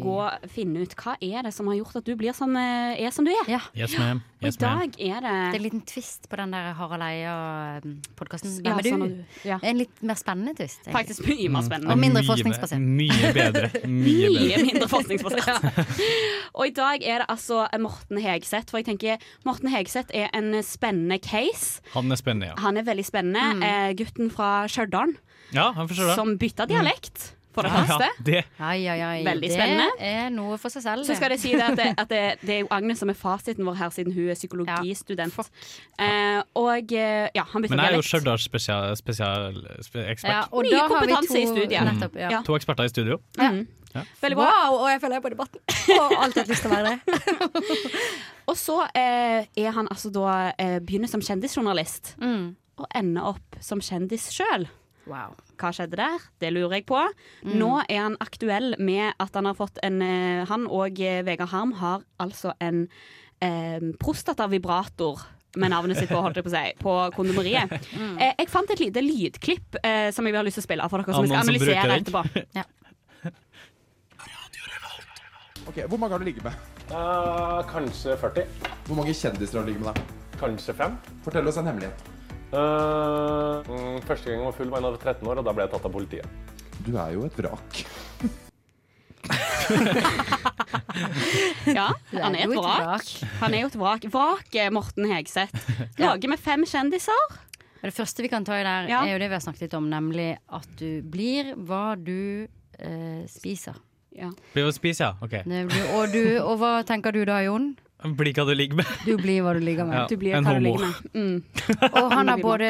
[SPEAKER 2] Gå og finne ut hva er det som har gjort at du blir som, eh, er som du er.
[SPEAKER 4] Yes, ma'am.
[SPEAKER 2] Og
[SPEAKER 4] Yes, ma'am.
[SPEAKER 2] i dag er det
[SPEAKER 5] Det er en liten twist på den der Harald Eia-podkasten.
[SPEAKER 2] Ja,
[SPEAKER 5] Hvem er
[SPEAKER 2] sånn er
[SPEAKER 5] du?
[SPEAKER 2] du. Ja.
[SPEAKER 5] En litt mer spennende twist. egentlig.
[SPEAKER 2] Faktisk mye mer spennende.
[SPEAKER 5] Og mindre
[SPEAKER 4] Mye be-
[SPEAKER 5] forskningsbasert.
[SPEAKER 4] Mye bedre. Mye
[SPEAKER 2] Mye
[SPEAKER 4] bedre.
[SPEAKER 2] mindre forskningsbasert. Og i dag er det altså Morten Hegseth. For jeg tenker Morten Hegseth er en spennende case.
[SPEAKER 4] Han er spennende, ja.
[SPEAKER 2] Han er veldig spennende. Eh, gutten fra Stjørdal
[SPEAKER 4] Ja, han forstår det.
[SPEAKER 2] som bytta dialekt, for det
[SPEAKER 4] Mm. Ja,
[SPEAKER 2] første.
[SPEAKER 4] Ja, det.
[SPEAKER 5] Ai, ai, ai.
[SPEAKER 2] Veldig
[SPEAKER 5] det
[SPEAKER 2] spennende.
[SPEAKER 5] er noe for seg selv.
[SPEAKER 2] Så skal jeg si det at, det, at det, det er jo Agnes som er fasiten vår her, siden hun er psykologistudent. Eh, og eh, ja, han bytta
[SPEAKER 4] Men jeg er jo
[SPEAKER 2] dialekt.
[SPEAKER 4] Stjørdals spesial, spesial, spe- ekspert.
[SPEAKER 5] Ja, og
[SPEAKER 2] Mye
[SPEAKER 5] da har vi
[SPEAKER 2] kompetanse
[SPEAKER 5] to-
[SPEAKER 2] i studiet.
[SPEAKER 5] Nettopp, ja.
[SPEAKER 2] Ja.
[SPEAKER 4] To eksperter i studio.
[SPEAKER 2] Mhm.
[SPEAKER 4] Ja.
[SPEAKER 2] Veldig bra.
[SPEAKER 5] Wow, og jeg føler jeg er på debatten. Og alltid hatt lyst til å være det.
[SPEAKER 2] Og så eh, er han altså da eh, begynner som kjendisjournalist,
[SPEAKER 5] Mm.
[SPEAKER 2] og ender opp som kjendis sjøl. Hva skjedde der? Det lurer jeg på.
[SPEAKER 13] Mm.
[SPEAKER 2] Nå er han aktuell med at han har fått en eh, Han og eh, Vegard Harm har altså en eh, prostatavibrator med navnet sitt på, holdt jeg på å si, på kondomeriet. Eh, jeg fant et lite lydklipp eh, som jeg har lyst til å spille av for dere, som vi skal
[SPEAKER 4] Av noen som
[SPEAKER 2] analysere etterpå.
[SPEAKER 4] bruker
[SPEAKER 2] Ja.
[SPEAKER 17] Ok, Hvor mange har du ligget med? kanskje 40. Hvor mange kjendiser har du ligget med? da? Kanskje fem. Fortell oss en hemmelighet.
[SPEAKER 8] Mm, første gang jeg var full, var jeg var 13 år, og da ble jeg tatt av politiet.
[SPEAKER 17] Du er jo et vrak.
[SPEAKER 2] Ja,
[SPEAKER 13] Det er
[SPEAKER 2] han er
[SPEAKER 13] jo
[SPEAKER 2] et
[SPEAKER 13] et
[SPEAKER 2] vrak. Han er jo et vrak. Vraket Morten Hegseth. Lager med fem kjendiser.
[SPEAKER 5] Men det første vi kan ta i der,
[SPEAKER 2] Ja.
[SPEAKER 5] er jo det vi har snakket litt om, nemlig at du blir hva du eh, spiser.
[SPEAKER 4] Blir å spise, ja. OK.
[SPEAKER 5] Det blir- Og, du, og hva tenker du da, Jon?
[SPEAKER 4] Blir hva du ligger med.
[SPEAKER 5] Du blir hva du ligger med.
[SPEAKER 4] Ja, Du blir en hva du homo. ligger med.
[SPEAKER 2] Mm.
[SPEAKER 5] Og han har både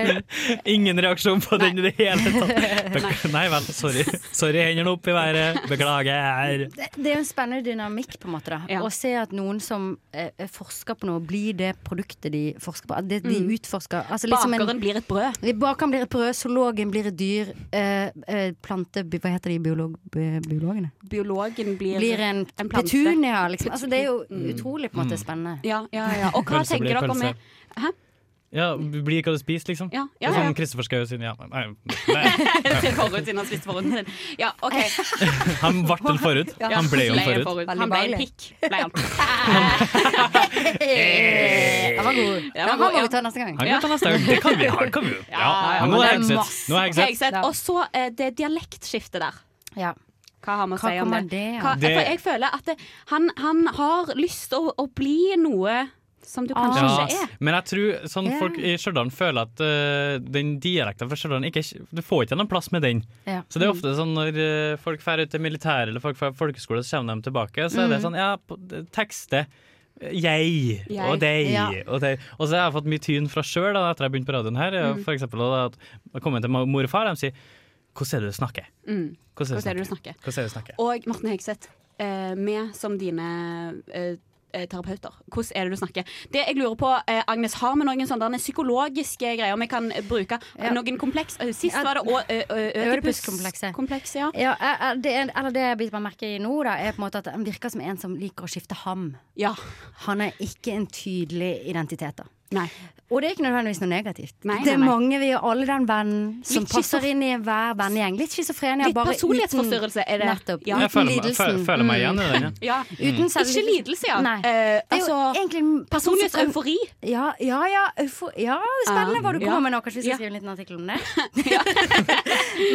[SPEAKER 4] Ingen reaksjon på den i det hele tatt. Bek- Nei vel, sorry. Sorry, hendene opp i været. Beklager.
[SPEAKER 5] det, det er jo en spennende dynamikk, på en måte. da Å se at noen som eh, forsker på noe, blir det produktet de forsker på. At Det de
[SPEAKER 2] Mm.
[SPEAKER 5] utforsker. Altså,
[SPEAKER 2] Bakeren blir et brød.
[SPEAKER 5] Bakeren blir et brød, zoologen blir et dyr. Eh, eh, plante... Hva heter de biolog, bi- biologene?
[SPEAKER 2] Biologen blir, eh,
[SPEAKER 5] Blir en,
[SPEAKER 2] plante.
[SPEAKER 5] petunia, liksom. Altså, det er jo
[SPEAKER 2] Mm.
[SPEAKER 5] utrolig på en måte
[SPEAKER 2] Mm.
[SPEAKER 5] spennende.
[SPEAKER 2] Ja, ja, ja. Og hva
[SPEAKER 5] Pølse
[SPEAKER 2] tenker
[SPEAKER 5] blir
[SPEAKER 2] dere
[SPEAKER 5] pølse.
[SPEAKER 2] med Hæ?
[SPEAKER 4] Ja, Bli hva du spiser, liksom.
[SPEAKER 2] Ja, ja,
[SPEAKER 4] Det er
[SPEAKER 2] ja.
[SPEAKER 4] Som Kristoffer Schau sin. Ja. Nei,
[SPEAKER 2] Jeg ser forut siden han spiste forhuden sin. Ja, OK.
[SPEAKER 4] han ble en forhud.
[SPEAKER 2] Ja.
[SPEAKER 4] Han ble jo en
[SPEAKER 2] Ble en
[SPEAKER 4] forhud.
[SPEAKER 2] Han ble en pikk. Ble han.
[SPEAKER 5] Den var god. Den
[SPEAKER 2] var
[SPEAKER 5] kan
[SPEAKER 2] god,
[SPEAKER 5] vi ta neste gang.
[SPEAKER 4] Han kan ta neste gang. Det kan vi. Han kan vi. jo. Ja. Men nå
[SPEAKER 2] det
[SPEAKER 4] er
[SPEAKER 2] er
[SPEAKER 4] Hegseth.
[SPEAKER 2] masse.
[SPEAKER 4] Nå er Hegseth.
[SPEAKER 2] Hegseth. Og så eh, det dialektskiftet der. Hva har
[SPEAKER 5] Hva
[SPEAKER 2] vi å si om det?
[SPEAKER 5] kommer det av?
[SPEAKER 2] Hva,
[SPEAKER 5] Det-
[SPEAKER 2] For jeg føler at det, han, han har lyst til å, å bli noe som du kanskje ikke
[SPEAKER 4] Ja,
[SPEAKER 2] er.
[SPEAKER 4] men jeg tror sånn,
[SPEAKER 2] Ja.
[SPEAKER 4] folk i Stjørdal føler at øh, den dialekten fra Stjørdal ikke er- Du får ikke noen plass med den.
[SPEAKER 5] Ja.
[SPEAKER 4] Så det er ofte sånn når øh, folk drar ut til militæret eller folk fra folkeskole, så kommer de tilbake, så er det
[SPEAKER 5] Mhm.
[SPEAKER 4] sånn Ja, på- det- tekster. Jeg,
[SPEAKER 5] Jeg.
[SPEAKER 4] og deg
[SPEAKER 5] Ja.
[SPEAKER 4] og deg. Og så har jeg fått mye tyn fra sjøl da, etter jeg begynte på radioen her.
[SPEAKER 2] Mm.
[SPEAKER 4] Mm. For eksempel da, at jeg kommer til ma- mor og far, de sier 'Hvordan er det du snakker?'
[SPEAKER 2] Mm.
[SPEAKER 4] Hvordan er
[SPEAKER 2] Hvordan er
[SPEAKER 4] det
[SPEAKER 2] det du snakker?
[SPEAKER 4] Hvordan er det du snakker?
[SPEAKER 2] Og Morten Hegseth, eh, vi som dine eh, eh, terapeuter, hvordan er det du snakker? Det jeg lurer på, eh, Agnes, har vi noen sånne psykologiske greier vi kan eh, bruke?
[SPEAKER 5] Ja.
[SPEAKER 2] Noen kompleks? eh, Sist
[SPEAKER 5] Ja.
[SPEAKER 2] var det å- ø- ø-
[SPEAKER 5] Ødipuskomplekset.
[SPEAKER 2] Komplekset, ja.
[SPEAKER 5] Ja, eh, eh, det, er- eller det jeg biter meg merke i nå, da, er på en måte at han virker som en som liker å skifte ham. Han er ikke en tydelig identitet. da. Og det er ikke nødvendigvis noe negativt.
[SPEAKER 2] Nei,
[SPEAKER 5] det er
[SPEAKER 2] nei, nei.
[SPEAKER 5] mange vi er alle den vennen som
[SPEAKER 2] Litt
[SPEAKER 5] passer
[SPEAKER 2] schizof-
[SPEAKER 5] inn i hver vennegjeng. Litt schizofrenia.
[SPEAKER 2] Litt personlighetsforstyrrelse er det.
[SPEAKER 5] Nettopp.
[SPEAKER 2] Ja.
[SPEAKER 4] Jeg føler meg-
[SPEAKER 5] lidelsen.
[SPEAKER 4] føler- føler meg igjen i den, ja.
[SPEAKER 2] Ja.
[SPEAKER 5] Uten
[SPEAKER 2] Mm.
[SPEAKER 5] selvlidelse.
[SPEAKER 2] Ikke lidelse, ja.
[SPEAKER 5] Nei.
[SPEAKER 2] Eh,
[SPEAKER 5] det er jo egentlig en person som
[SPEAKER 2] personlighets-
[SPEAKER 5] kan-
[SPEAKER 2] eufori.
[SPEAKER 5] Ja, ja, ja, eufo ja spennende
[SPEAKER 2] Ja.
[SPEAKER 5] hva du kommer
[SPEAKER 2] Ah, Ja.
[SPEAKER 5] med nå. Kanskje vi skal
[SPEAKER 2] Ja.
[SPEAKER 5] skrive en liten artikkel om det.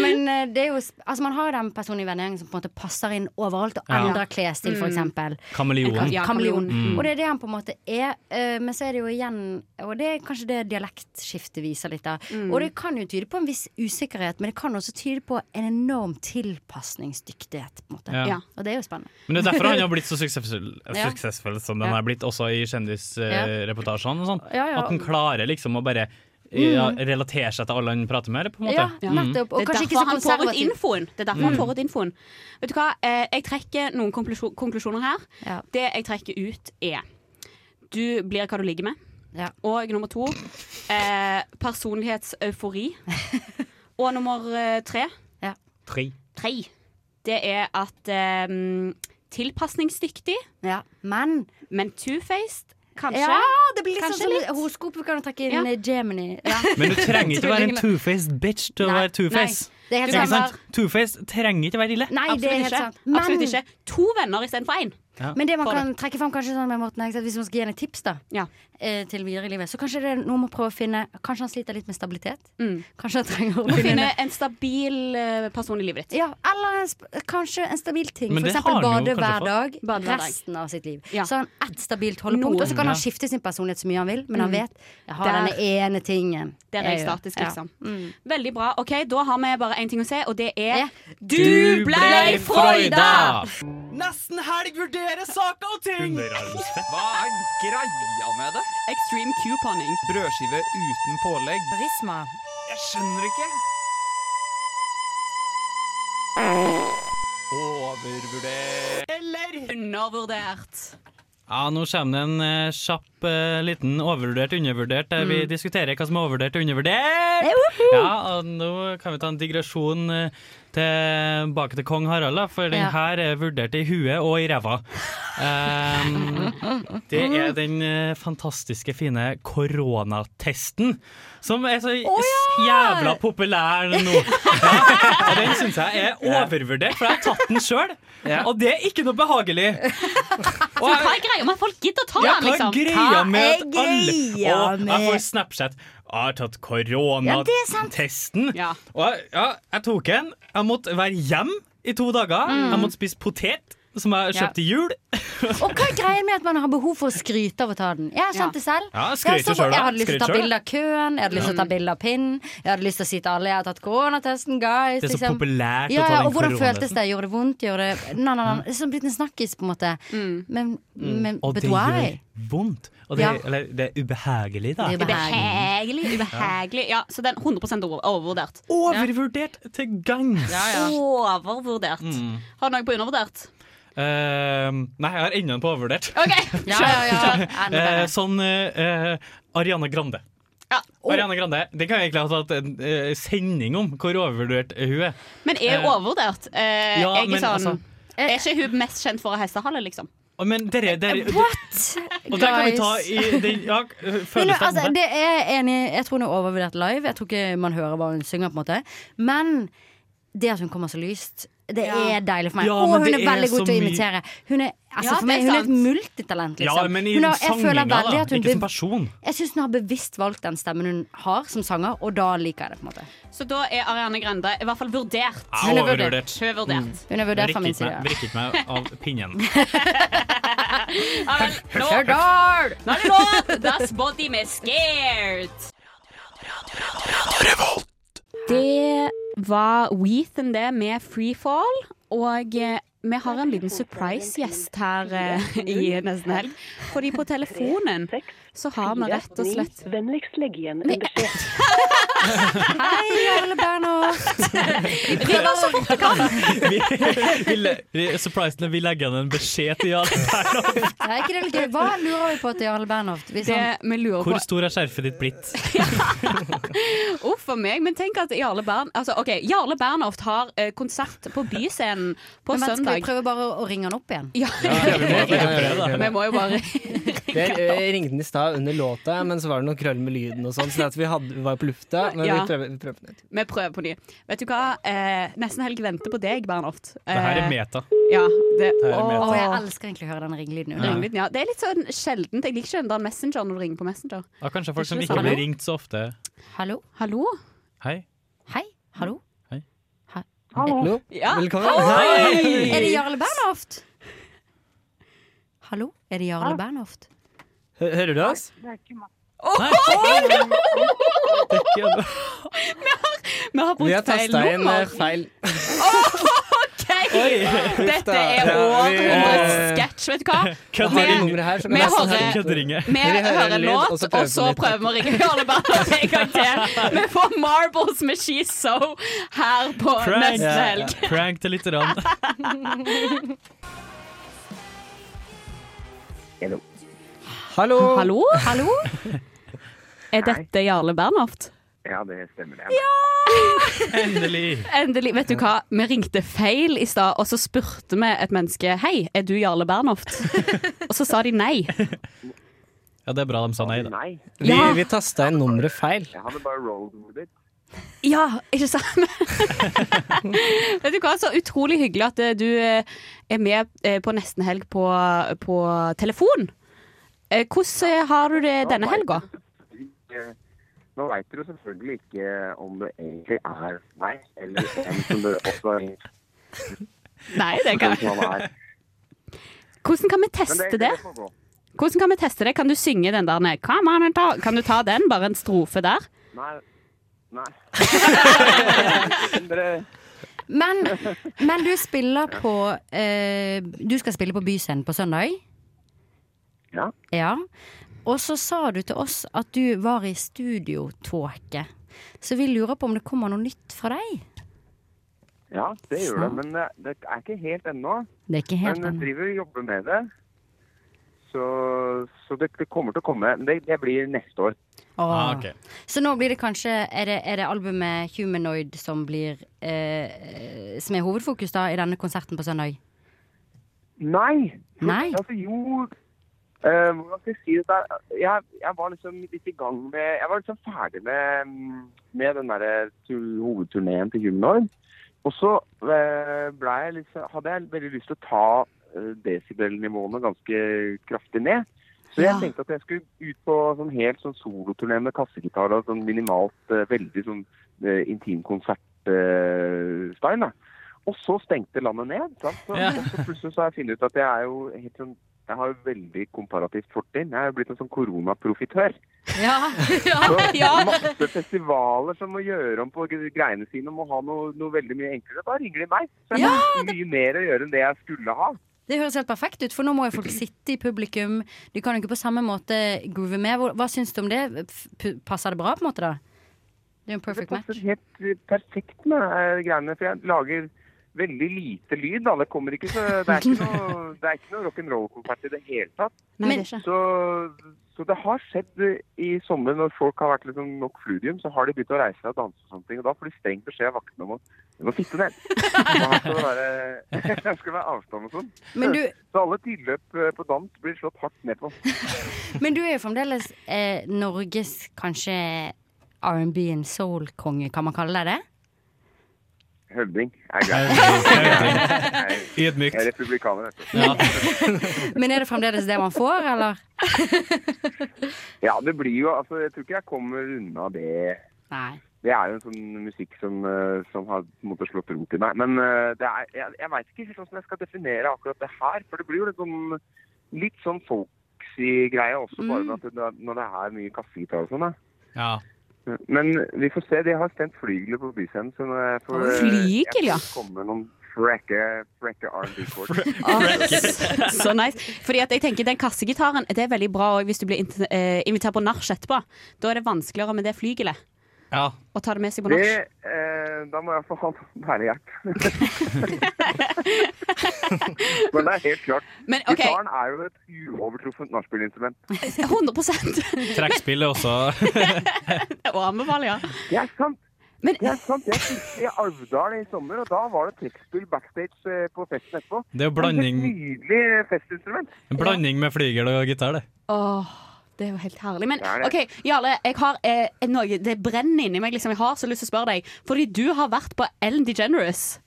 [SPEAKER 5] Men eh, det er jo sp- Altså, man har jo den personen i vennegjengen som på en måte passer inn overalt og
[SPEAKER 4] Ja.
[SPEAKER 5] endrer klesstil, for
[SPEAKER 4] Mm.
[SPEAKER 5] eksempel.
[SPEAKER 4] Kameleon.
[SPEAKER 5] Eller ka-
[SPEAKER 4] Ja,
[SPEAKER 5] kameleon.
[SPEAKER 4] kameleon. Mm.
[SPEAKER 5] Og det er det han på en måte er. eh, Men så er det jo igjen Og det er kanskje det dialektskiftet viser litt av.
[SPEAKER 1] Mm.
[SPEAKER 5] Og det kan jo tyde på en viss usikkerhet, men det kan også tyde på en enorm tilpasningsdyktighet, på en måte.
[SPEAKER 4] Ja. Ja.
[SPEAKER 5] Og det er jo spennende.
[SPEAKER 4] Men det er derfor han har blitt så suksessfull,
[SPEAKER 5] Ja.
[SPEAKER 4] suksessfull som
[SPEAKER 5] Ja.
[SPEAKER 4] den har blitt, også i kjendisreportasjene og sånn.
[SPEAKER 5] Ja, ja. Mm.
[SPEAKER 4] At han klarer liksom å bare eh, ja, relatere seg til alle han prater med, på en måte. Mm.
[SPEAKER 5] Ja, nettopp. Og
[SPEAKER 2] det er
[SPEAKER 5] kanskje ikke
[SPEAKER 2] derfor
[SPEAKER 5] så
[SPEAKER 2] han får ut
[SPEAKER 5] konservativ.
[SPEAKER 2] infoen. Det er derfor han
[SPEAKER 5] Mm.
[SPEAKER 2] får ut infoen. Vet du hva? Eh, jeg trekker noen konklusjon- konklusjoner her. Det jeg trekker ut, er du blir hva du ligger med. Og nummer to eh, personlighetseufori. Og nummer eh, tre,
[SPEAKER 4] Tre.
[SPEAKER 2] tre det er at eh, tilpasningsdyktig,
[SPEAKER 5] men,
[SPEAKER 2] two-faced, kanskje.
[SPEAKER 5] Ja, det blir litt
[SPEAKER 2] Kanskje
[SPEAKER 5] sånn
[SPEAKER 2] litt.
[SPEAKER 5] som horoskopet kan du trekke inn eh, Gemini.
[SPEAKER 4] Men du trenger ikke å være en
[SPEAKER 5] Tvillingene.
[SPEAKER 4] two-faced bitch til å
[SPEAKER 5] Nei,
[SPEAKER 4] være two-faced.
[SPEAKER 5] nei, det er helt sant.
[SPEAKER 4] sant? Two-faced trenger ikke å være ille.
[SPEAKER 5] Nei, det er
[SPEAKER 2] Absolutt
[SPEAKER 5] helt
[SPEAKER 2] ikke.
[SPEAKER 5] sant.
[SPEAKER 2] Absolutt ikke. To venner istedenfor én.
[SPEAKER 4] Ja.
[SPEAKER 5] Men det man
[SPEAKER 2] For
[SPEAKER 5] kan trekke fram kanskje sånn med Morten Hegseth, hvis man skal gi henne tips da eh, til videre i livet, så kanskje det er noe med å prøve å finne Kanskje han sliter litt med stabilitet? Kanskje han trenger
[SPEAKER 2] Å
[SPEAKER 5] å
[SPEAKER 2] Mm. finne
[SPEAKER 5] finne
[SPEAKER 2] en stabil eh, person i livet ditt.
[SPEAKER 5] ja, Eller en, sp- kanskje en stabil ting.
[SPEAKER 2] Men
[SPEAKER 5] For
[SPEAKER 2] det
[SPEAKER 5] eksempel
[SPEAKER 2] har han jo
[SPEAKER 5] bade
[SPEAKER 2] kanskje
[SPEAKER 5] hver
[SPEAKER 2] fått.
[SPEAKER 5] dag
[SPEAKER 2] Bade hver dag.
[SPEAKER 5] resten av sitt liv.
[SPEAKER 2] Ja.
[SPEAKER 5] Så har han ett stabilt holdepunkt, og så kan han
[SPEAKER 2] Noen,
[SPEAKER 5] skifte sin personlighet så mye han vil, men han
[SPEAKER 2] Mm.
[SPEAKER 5] vet jeg har
[SPEAKER 2] Der-
[SPEAKER 5] denne ene tingen.
[SPEAKER 2] Der er jeg
[SPEAKER 5] gjør.
[SPEAKER 2] statisk,
[SPEAKER 5] Ja.
[SPEAKER 2] liksom. Veldig bra. OK, da har vi bare én ting å si, og det er
[SPEAKER 4] Du blei Freuda!
[SPEAKER 16] Nesten helg vurderer saker og ting!
[SPEAKER 9] Hva er greia med det?
[SPEAKER 2] Extreme couponing.
[SPEAKER 9] Brødskive uten pålegg.
[SPEAKER 5] Prisma.
[SPEAKER 9] Jeg skjønner ikke.
[SPEAKER 4] Overvurder.
[SPEAKER 2] Eller undervurdert.
[SPEAKER 4] Ja, nå kommer det en eh, kjapp eh, liten overvurdert undervurdert, der vi
[SPEAKER 2] Mm.
[SPEAKER 4] diskuterer hva som er overvurdert og undervurdert. Ja, og nå kan vi ta en digresjon eh, tilbake til kong Harald, da, for den
[SPEAKER 9] Ja.
[SPEAKER 4] her er vurdert i huet og i ræva. Ehm, det er den eh, fantastiske, fine koronatesten, som er så s- jævla populær nå. Ja, og den syns jeg er overvurdert, for jeg har tatt den sjøl, og det er ikke noe behagelig.
[SPEAKER 2] Så Altså, hva er greia med at folk gidder å ta
[SPEAKER 4] Ja,
[SPEAKER 2] den,
[SPEAKER 4] hva
[SPEAKER 2] liksom?
[SPEAKER 4] er greia med at
[SPEAKER 2] er
[SPEAKER 4] alle
[SPEAKER 2] greia
[SPEAKER 4] Å, jeg
[SPEAKER 2] med-
[SPEAKER 4] får Snapchat. Jeg har tatt
[SPEAKER 2] Ja, det er sant.
[SPEAKER 4] koronatesten. Og jeg, ja, jeg tok en. Jeg måtte være hjemme i to dager.
[SPEAKER 5] Mm.
[SPEAKER 4] Jeg måtte spise potet, som jeg
[SPEAKER 5] Ja.
[SPEAKER 4] kjøpte til jul.
[SPEAKER 5] Og hva er greia med at man har behov for å skryte av å ta den? Jeg har kjent det selv.
[SPEAKER 4] Ja,
[SPEAKER 5] Jeg
[SPEAKER 4] skryt
[SPEAKER 5] så-
[SPEAKER 4] selv, da.
[SPEAKER 5] Jeg hadde lyst til å ta
[SPEAKER 4] Skryt selv.
[SPEAKER 5] bilde av køen, jeg hadde lyst til å ta bilde av pinnen, jeg hadde lyst til å si til alle jeg har tatt koronatesten, guys.
[SPEAKER 4] Det er så
[SPEAKER 5] liksom.
[SPEAKER 4] populært å ta
[SPEAKER 5] ja, ja,
[SPEAKER 4] den
[SPEAKER 5] Og hvordan
[SPEAKER 4] koronatesten.
[SPEAKER 5] føltes det? Gjorde det vondt? Gjorde det Nei, nei, nei. Det er sånn blitt en snakkis, på en måte.
[SPEAKER 4] Mm.
[SPEAKER 5] Men, men
[SPEAKER 4] Og
[SPEAKER 5] but
[SPEAKER 4] det gjør
[SPEAKER 5] why?
[SPEAKER 4] vondt. Og det,
[SPEAKER 5] Ja.
[SPEAKER 4] eller, det er ubehagelig, da.
[SPEAKER 2] Ubehagelig. Ubehagelig. Ja, så den 100 over- overvurdert.
[SPEAKER 4] Overvurdert til gangs.
[SPEAKER 2] Overvurdert.
[SPEAKER 4] Mm.
[SPEAKER 2] Har du noe på undervurdert?
[SPEAKER 4] Ehm, nei, jeg har enda en på overvurdert.
[SPEAKER 2] Ja, ja,
[SPEAKER 4] Eh, sånn eh, eh, Ariana Grande.
[SPEAKER 5] Oh.
[SPEAKER 4] Ariana Grande, Det kan vi egentlig ha tatt en eh, sending om, hvor overvurdert hun er.
[SPEAKER 2] Men er
[SPEAKER 4] Eh,
[SPEAKER 2] overvurdert? Eh,
[SPEAKER 4] ja,
[SPEAKER 2] jeg er
[SPEAKER 4] men
[SPEAKER 2] sånn
[SPEAKER 4] altså-
[SPEAKER 2] Er ikke hun mest kjent for å hestehale, liksom?
[SPEAKER 4] Å, Men dere, dere
[SPEAKER 5] Eh, What?
[SPEAKER 4] Og der kan vi ta i
[SPEAKER 5] Guys.
[SPEAKER 4] den ja, eh,
[SPEAKER 5] Men nå,
[SPEAKER 4] følelsen
[SPEAKER 5] altså, det er enig, jeg tror hun er overvurdert live. Jeg tror ikke man hører hva hun synger. på en måte Men det at hun kommer så lyst, det
[SPEAKER 4] Ja.
[SPEAKER 5] er deilig for meg.
[SPEAKER 4] Ja,
[SPEAKER 5] og
[SPEAKER 4] men
[SPEAKER 5] hun
[SPEAKER 4] det
[SPEAKER 5] er
[SPEAKER 4] er
[SPEAKER 5] veldig
[SPEAKER 4] så
[SPEAKER 5] god til å
[SPEAKER 4] mye-
[SPEAKER 5] imitere. Hun er, altså,
[SPEAKER 4] Ja,
[SPEAKER 5] for
[SPEAKER 4] det
[SPEAKER 5] meg,
[SPEAKER 4] er
[SPEAKER 5] hun er et
[SPEAKER 4] sant.
[SPEAKER 5] multitalent, liksom.
[SPEAKER 4] Ja, men i
[SPEAKER 5] Hun har- jeg
[SPEAKER 4] sanginga,
[SPEAKER 5] føler
[SPEAKER 4] da.
[SPEAKER 5] veldig at hun
[SPEAKER 4] Ikke som
[SPEAKER 5] bev-
[SPEAKER 4] person.
[SPEAKER 5] Jeg syns hun har bevisst valgt den stemmen hun har som sanger, og da liker jeg det. på en måte
[SPEAKER 2] Så da er Ariane Grande i hvert fall vurdert.
[SPEAKER 4] Ja,
[SPEAKER 2] Hun er
[SPEAKER 4] overvurdert. Mm.
[SPEAKER 2] Hun er vurdert.
[SPEAKER 5] Hun er vurdert fra min
[SPEAKER 4] Vrikket
[SPEAKER 5] side.
[SPEAKER 4] meg- Vrikket meg av pinnen.
[SPEAKER 2] Ja, vel, nå-
[SPEAKER 5] Stjørdal!
[SPEAKER 2] Nå er det lov! Das body med scared. Det var Weathen det med Freefall. Og eh, vi har en liten surprise-gjest her eh, i nesten helg. Fordi på telefonen så har vi rett og slett
[SPEAKER 1] Vennligst legg igjen en beskjed.
[SPEAKER 5] Hei, Jarle Bernhoft.
[SPEAKER 2] Ring oss så fort du kan!
[SPEAKER 4] Vi, vi, le- vi- surprisingly, vi legger igjen en beskjed til Jarle Bernhoft.
[SPEAKER 5] Er ikke det litt gøy? Hva lurer vi på til Jarle Bernhoft? sånn, Hvis han-
[SPEAKER 4] Hvor stor er skjerfet ditt blitt?
[SPEAKER 2] Uff a meg. Men tenk at Jarle Bern altså, ok, Jarle Bernhoft har eh, konsert på Byscenen på
[SPEAKER 5] Men vent, Skal vi
[SPEAKER 2] søndag.
[SPEAKER 5] prøve bare å ringe han opp igjen?
[SPEAKER 2] Ja, Vi må jo bare
[SPEAKER 3] Jeg jeg eh, ringte den i stad under låta, men så var det noe krøll med lyden og sånn, så at vi, hadde, vi var på lufta. Men
[SPEAKER 2] Ja.
[SPEAKER 3] vi prøver, vi prøver på nytt.
[SPEAKER 2] Vi prøver på ny. Vet du hva? Eh, nesten helg venter på deg, Bernhoft. Eh,
[SPEAKER 4] Det her er meta.
[SPEAKER 2] Ja, det,
[SPEAKER 4] Det her er
[SPEAKER 2] Åh.
[SPEAKER 4] meta.
[SPEAKER 5] Å, jeg elsker egentlig å høre den ringelyden. under.
[SPEAKER 2] Ringelyden, ja. Det er litt sånn sjeldent. Jeg liker ikke den der Messenger når du ringer på Messenger.
[SPEAKER 4] Ja, kanskje folk som
[SPEAKER 2] Det er
[SPEAKER 4] ikke
[SPEAKER 2] ikke det
[SPEAKER 4] blir
[SPEAKER 2] samme.
[SPEAKER 4] ringt så ofte.
[SPEAKER 5] Hallo?
[SPEAKER 2] Hallo?
[SPEAKER 4] Hei.
[SPEAKER 5] Hei? Hallo?
[SPEAKER 4] Hei.
[SPEAKER 5] Ha-
[SPEAKER 4] Hallo.
[SPEAKER 14] Ah,
[SPEAKER 2] Ja.
[SPEAKER 4] Velkommen.
[SPEAKER 5] Hei!
[SPEAKER 4] Hei!
[SPEAKER 5] Er det Jarle Bernhoft? Hallo? Er det Jarle Bernhoft?
[SPEAKER 3] Hø- Hører du oss?
[SPEAKER 5] Det er ikke meg.
[SPEAKER 3] Vi har,
[SPEAKER 2] vi har
[SPEAKER 3] vi har
[SPEAKER 2] brukt feil
[SPEAKER 3] tasta inn
[SPEAKER 2] nummer.
[SPEAKER 3] eh, feil
[SPEAKER 2] OK!
[SPEAKER 3] Oi, huff
[SPEAKER 2] Dette
[SPEAKER 3] da.
[SPEAKER 2] er
[SPEAKER 3] Ja, vi-
[SPEAKER 2] århundrets
[SPEAKER 14] Eh,
[SPEAKER 2] sketsj, vet du hva?
[SPEAKER 3] Kødd
[SPEAKER 2] Vi-
[SPEAKER 3] ringer her, så
[SPEAKER 2] vi
[SPEAKER 3] nesten
[SPEAKER 2] hører-
[SPEAKER 3] helg køddringer.
[SPEAKER 2] Vi
[SPEAKER 3] Vi hører
[SPEAKER 2] hører
[SPEAKER 3] en
[SPEAKER 2] en
[SPEAKER 3] lyd, og
[SPEAKER 2] låt,
[SPEAKER 3] så prøver
[SPEAKER 2] og så
[SPEAKER 3] vi på nytt.
[SPEAKER 2] prøver vi å ringe Jarle Bernhoft en gang til. Vi får Marbles med She's So her på
[SPEAKER 4] Prank.
[SPEAKER 2] neste helg.
[SPEAKER 4] Prank til lite grann.
[SPEAKER 3] Hallo.
[SPEAKER 2] Hallo? Er dette Jarle Bernhoft?
[SPEAKER 18] Ja, det stemmer det.
[SPEAKER 4] Endelig.
[SPEAKER 2] Endelig. Vet du hva, vi ringte feil i stad, og så spurte vi et menneske Hei, er du Jarle Bernhoft? og så sa de nei.
[SPEAKER 4] Ja, det er bra de sa nei, da.
[SPEAKER 3] Vi,
[SPEAKER 2] Ja.
[SPEAKER 3] vi tasta inn nummeret feil.
[SPEAKER 18] Jeg hadde bare rolled with it.
[SPEAKER 2] Ja, ikke sant? Vet du hva, så utrolig hyggelig at eh, du eh, er med eh, på nesten helg på, på telefon. Eh, Hvordan eh, har du det denne helga?
[SPEAKER 18] Eh, Nå veit dere jo selvfølgelig ikke om det egentlig er meg, eller hvem som bør også
[SPEAKER 2] Nei, det kan
[SPEAKER 18] hvem som han er.
[SPEAKER 2] Hvordan kan vi
[SPEAKER 18] Men
[SPEAKER 2] teste
[SPEAKER 18] det-
[SPEAKER 2] det?
[SPEAKER 18] det får gå.
[SPEAKER 2] Hvordan kan vi teste det? Kan du synge den der ned? Come on and talk. Kan du ta den, bare en strofe der?
[SPEAKER 18] Nei. Nei. dere,
[SPEAKER 5] Men, men du spiller på eh, Du skal spille på Byscenen på søndag.
[SPEAKER 18] Ja.
[SPEAKER 5] Ja. Og så sa du til oss at du var i studiotåke. Så vi lurer på om det kommer noe nytt fra deg?
[SPEAKER 18] ja, det gjør det,
[SPEAKER 5] Snart.
[SPEAKER 18] men det, det er ikke helt ennå.
[SPEAKER 5] Det er ikke helt
[SPEAKER 18] Men eh, jeg
[SPEAKER 5] ennå.
[SPEAKER 18] driver og jobber med det. Så, så det, det kommer til å komme. Men Det, det blir neste år.
[SPEAKER 5] Ah, Så nå blir det kanskje Er det, er det albumet Humanoid som blir eh, Som er hovedfokus da i denne konserten på søndag?
[SPEAKER 18] Nei.
[SPEAKER 5] Nei.
[SPEAKER 18] Altså, jo eh, Hvordan skal jeg si dette? Jeg, jeg var liksom litt i gang med Jeg var liksom ferdig med, mm, med den derre tu- hovedturneen til Humanoid. Og så eh, ble jeg liksom, hadde jeg veldig lyst til å ta eh, desibelnivåene ganske kraftig ned. Så jeg
[SPEAKER 19] Ja.
[SPEAKER 18] tenkte at jeg skulle ut på sånn helt sånn soloturné med kassegitar og sånn minimalt, eh, veldig sånn eh, intimkonsertstyle. style da. og så stengte landet ned. Sant? Så, og så plutselig så har jeg funnet ut at jeg er jo helt sånn jeg har jo veldig komparativt fortrinn. Jeg er jo blitt en sånn koronaprofitør.
[SPEAKER 5] Ja.
[SPEAKER 18] Så
[SPEAKER 2] Ja.
[SPEAKER 18] masse festivaler som må gjøre om på greiene sine og må ha noe, noe veldig mye enklere. Da ringer de meg. Så jeg har mye mer å gjøre enn det jeg skulle ha.
[SPEAKER 5] Det høres helt perfekt ut, for nå må jo folk sitte i publikum. Du kan jo ikke på samme måte groove med. Hvor- Hva syns du om det? F- p- Passer det bra, på en måte? da? Det er jo en perfect
[SPEAKER 18] det
[SPEAKER 5] match.
[SPEAKER 18] passer helt perfekt med eh, greiene, for jeg lager veldig lite lyd. Da. Det kommer ikke så Det er ikke noe, det er ikke noe rock'n'roll-konsert i det hele tatt.
[SPEAKER 5] Nei,
[SPEAKER 18] så, så Så det har skjedd eh, i sommer, når folk har vært liksom nok fludium, så har de begynt å reise seg og danse og sånne ting. Og da får de streng beskjed av vaktene om å du må sitte ned. Og Her skal det være, her skal det være avstand og sånn.
[SPEAKER 5] Men du-
[SPEAKER 18] Så alle tilløp eh, på dans blir slått hardt ned på.
[SPEAKER 5] Men du er jo fremdeles eh, Norges kanskje R&B and soul-konge, kan man kalle deg det?
[SPEAKER 18] Høvding er greit.
[SPEAKER 4] Ydmykt.
[SPEAKER 18] Jeg er republikaner, vet du.
[SPEAKER 5] Men er det fremdeles det man får, eller?
[SPEAKER 18] Ja, det blir jo Altså, jeg tror ikke jeg kommer unna det.
[SPEAKER 5] Nei.
[SPEAKER 18] Det er jo en sånn musikk som, eh, som har på en måte slått rot i meg. Men eh, det er, jeg, jeg veit ikke helt hvordan jeg skal definere akkurat det her. For det blir jo litt sånn, litt sånn folksy greie også, bare med at det, når det er mye kaffegitar og sånn. da.
[SPEAKER 4] Ja.
[SPEAKER 18] Men vi får se. De har stemt flygel på Byscenen. Så når jeg får,
[SPEAKER 4] Å, flygel,
[SPEAKER 18] jeg får
[SPEAKER 2] ja.
[SPEAKER 18] komme med noen frekke, frekke R&B-kort.
[SPEAKER 2] Så nice. Fordi at jeg tenker Den kassegitaren det er veldig bra også hvis du blir int- eh, invitert på nach etterpå. Da er det vanskeligere med det flygelet.
[SPEAKER 4] Ja.
[SPEAKER 2] Å ta det med seg på
[SPEAKER 18] Det,
[SPEAKER 2] nach.
[SPEAKER 18] eh, da må jeg få ha bærehjert. Men det er helt klart.
[SPEAKER 2] Men, ok.
[SPEAKER 18] Gitaren er jo et uovertruffent nachspielinstrument.
[SPEAKER 2] 100
[SPEAKER 4] Trekkspill er også
[SPEAKER 2] Men- Å anbefale, ja.
[SPEAKER 18] Det er sant. det er sant. Jeg spilte i Alvdal i sommer, og da var det trekkspill backstage eh, på festen etterpå.
[SPEAKER 4] Det er jo blanding-
[SPEAKER 18] Et nydelig eh, festinstrument.
[SPEAKER 4] en blanding med flygel og gitar, det.
[SPEAKER 2] Åh, det er jo helt herlig. Men
[SPEAKER 4] Det er det.
[SPEAKER 2] OK, Jarle, jeg har eh, noe Det brenner inni meg. liksom Jeg har så lyst til å spørre deg. Fordi du har vært på Ellen DeGeneres.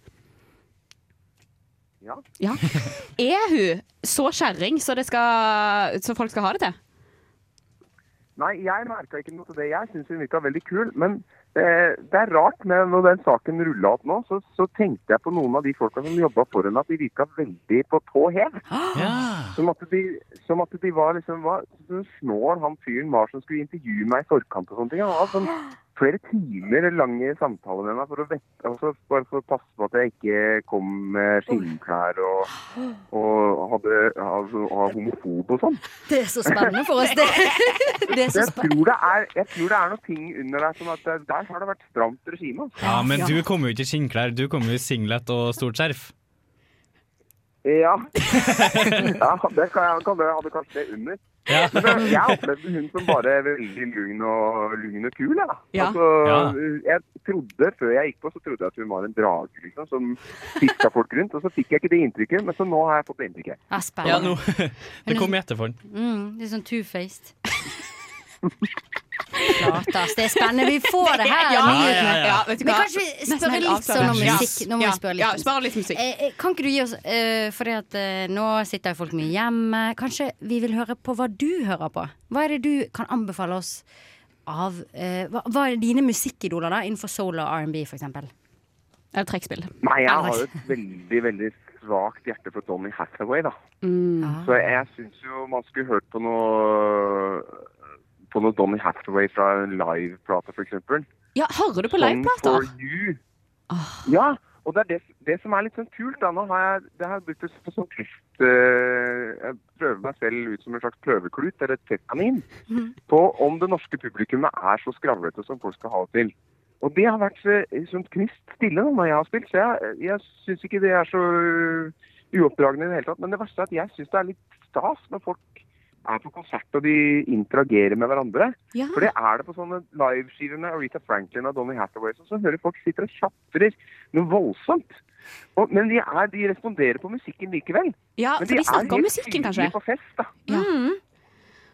[SPEAKER 18] Ja.
[SPEAKER 2] Ja. Er hun så kjerring så, det skal- så folk skal ha det til?
[SPEAKER 18] Nei, jeg merka ikke noe til det. Jeg syns hun virka veldig kul. Men eh, det er rart, med når den saken rulla opp nå, så, så tenkte jeg på noen av de folka som jobba for henne, at de virka veldig på tå hev.
[SPEAKER 4] Ah.
[SPEAKER 18] Som, at de, som at de var liksom var, Så snål han fyren var som skulle intervjue meg i forkant og sånne ting. Han hadde sånn flere timer lange samtaler med meg for å vette, altså bare for å passe på at jeg ikke kom med skinnklær og, og hadde, altså, var homofob og sånn.
[SPEAKER 5] Det er så spennende for oss, det. det er så
[SPEAKER 18] Jeg tror
[SPEAKER 5] spen-
[SPEAKER 18] det er, jeg tror det er noen ting under der som at eh, der har det vært stramt regime. altså.
[SPEAKER 4] Ja, men du kom jo ikke i skinnklær, du kom jo i singlet og stort skjerf.
[SPEAKER 18] Ja. ja det kan jeg kan det, hadde kanskje det under. Men eh, jeg opplevde hun som bare veldig lugn og, lugn og kul. jeg, da.
[SPEAKER 17] Ja.
[SPEAKER 18] Altså,
[SPEAKER 17] Ja.
[SPEAKER 18] Jeg trodde, Før jeg gikk på, så trodde jeg at hun var en drage liksom, som fiska folk rundt. Og så fikk jeg ikke det inntrykket, men så nå har jeg fått det inntrykket.
[SPEAKER 5] Ja,
[SPEAKER 4] Ja,
[SPEAKER 5] spennende.
[SPEAKER 4] nå. Det kom i etterform.
[SPEAKER 5] Mm, litt sånn two-faced. Klart, ass. Det er spennende. Vi får det her.
[SPEAKER 2] Ja,
[SPEAKER 5] nyhetene.
[SPEAKER 2] ja, ja. Ja, vet du
[SPEAKER 5] Men
[SPEAKER 2] hva?
[SPEAKER 5] kanskje vi
[SPEAKER 2] Nesten
[SPEAKER 5] spørre
[SPEAKER 2] helt
[SPEAKER 5] litt sånn om
[SPEAKER 2] avslappet.
[SPEAKER 5] musikk. Nå må
[SPEAKER 2] Ja,
[SPEAKER 5] vi spørre litt.
[SPEAKER 2] ja, spør litt musikk.
[SPEAKER 5] Eh, eh, kan ikke du gi oss eh, Fordi at eh, nå sitter jo folk mye hjemme. Kanskje vi vil høre på hva du hører på? Hva er det du kan anbefale oss av eh, hva, hva er dine musikkidoler da innenfor soul og R&B, for eksempel?
[SPEAKER 2] Eller trekkspill.
[SPEAKER 18] Nei, jeg har jo et veldig, veldig svakt hjerte for Donny Hathaway, da. Så jeg syns jo man skulle hørt på noe på noe Donny Hathaway fra en liveplate, f.eks.
[SPEAKER 2] Ja, hører du på
[SPEAKER 18] Song
[SPEAKER 2] liveplater?
[SPEAKER 18] for you. Ja, og det er det, det som er litt sånn kult. da, Nå har jeg, det har jeg brukt det som sånn kløft eh, Jeg prøver meg selv ut som en slags kløverklut eller et fettkanin på om det norske publikummet er så skravlete som folk skal ha det til. Og det har vært eh, sånn knist stille nå når jeg har spilt, så jeg, jeg syns ikke det er så eh, uoppdragende i det hele tatt. Men det verste er at jeg syns det er litt stas når folk er på konsert og de interagerer med hverandre.
[SPEAKER 2] Ja.
[SPEAKER 18] For det er det på sånne liveskiver med Aretha Franklin og Donny Hathaway. Så, så hører folk sitter og tjatrer noe voldsomt. Og, men de, er, de responderer på musikken likevel.
[SPEAKER 2] Ja,
[SPEAKER 18] men
[SPEAKER 2] for de
[SPEAKER 18] er
[SPEAKER 2] snakker om
[SPEAKER 18] helt
[SPEAKER 2] musikken, kanskje?
[SPEAKER 18] tydelige På fest, da.
[SPEAKER 2] Ja.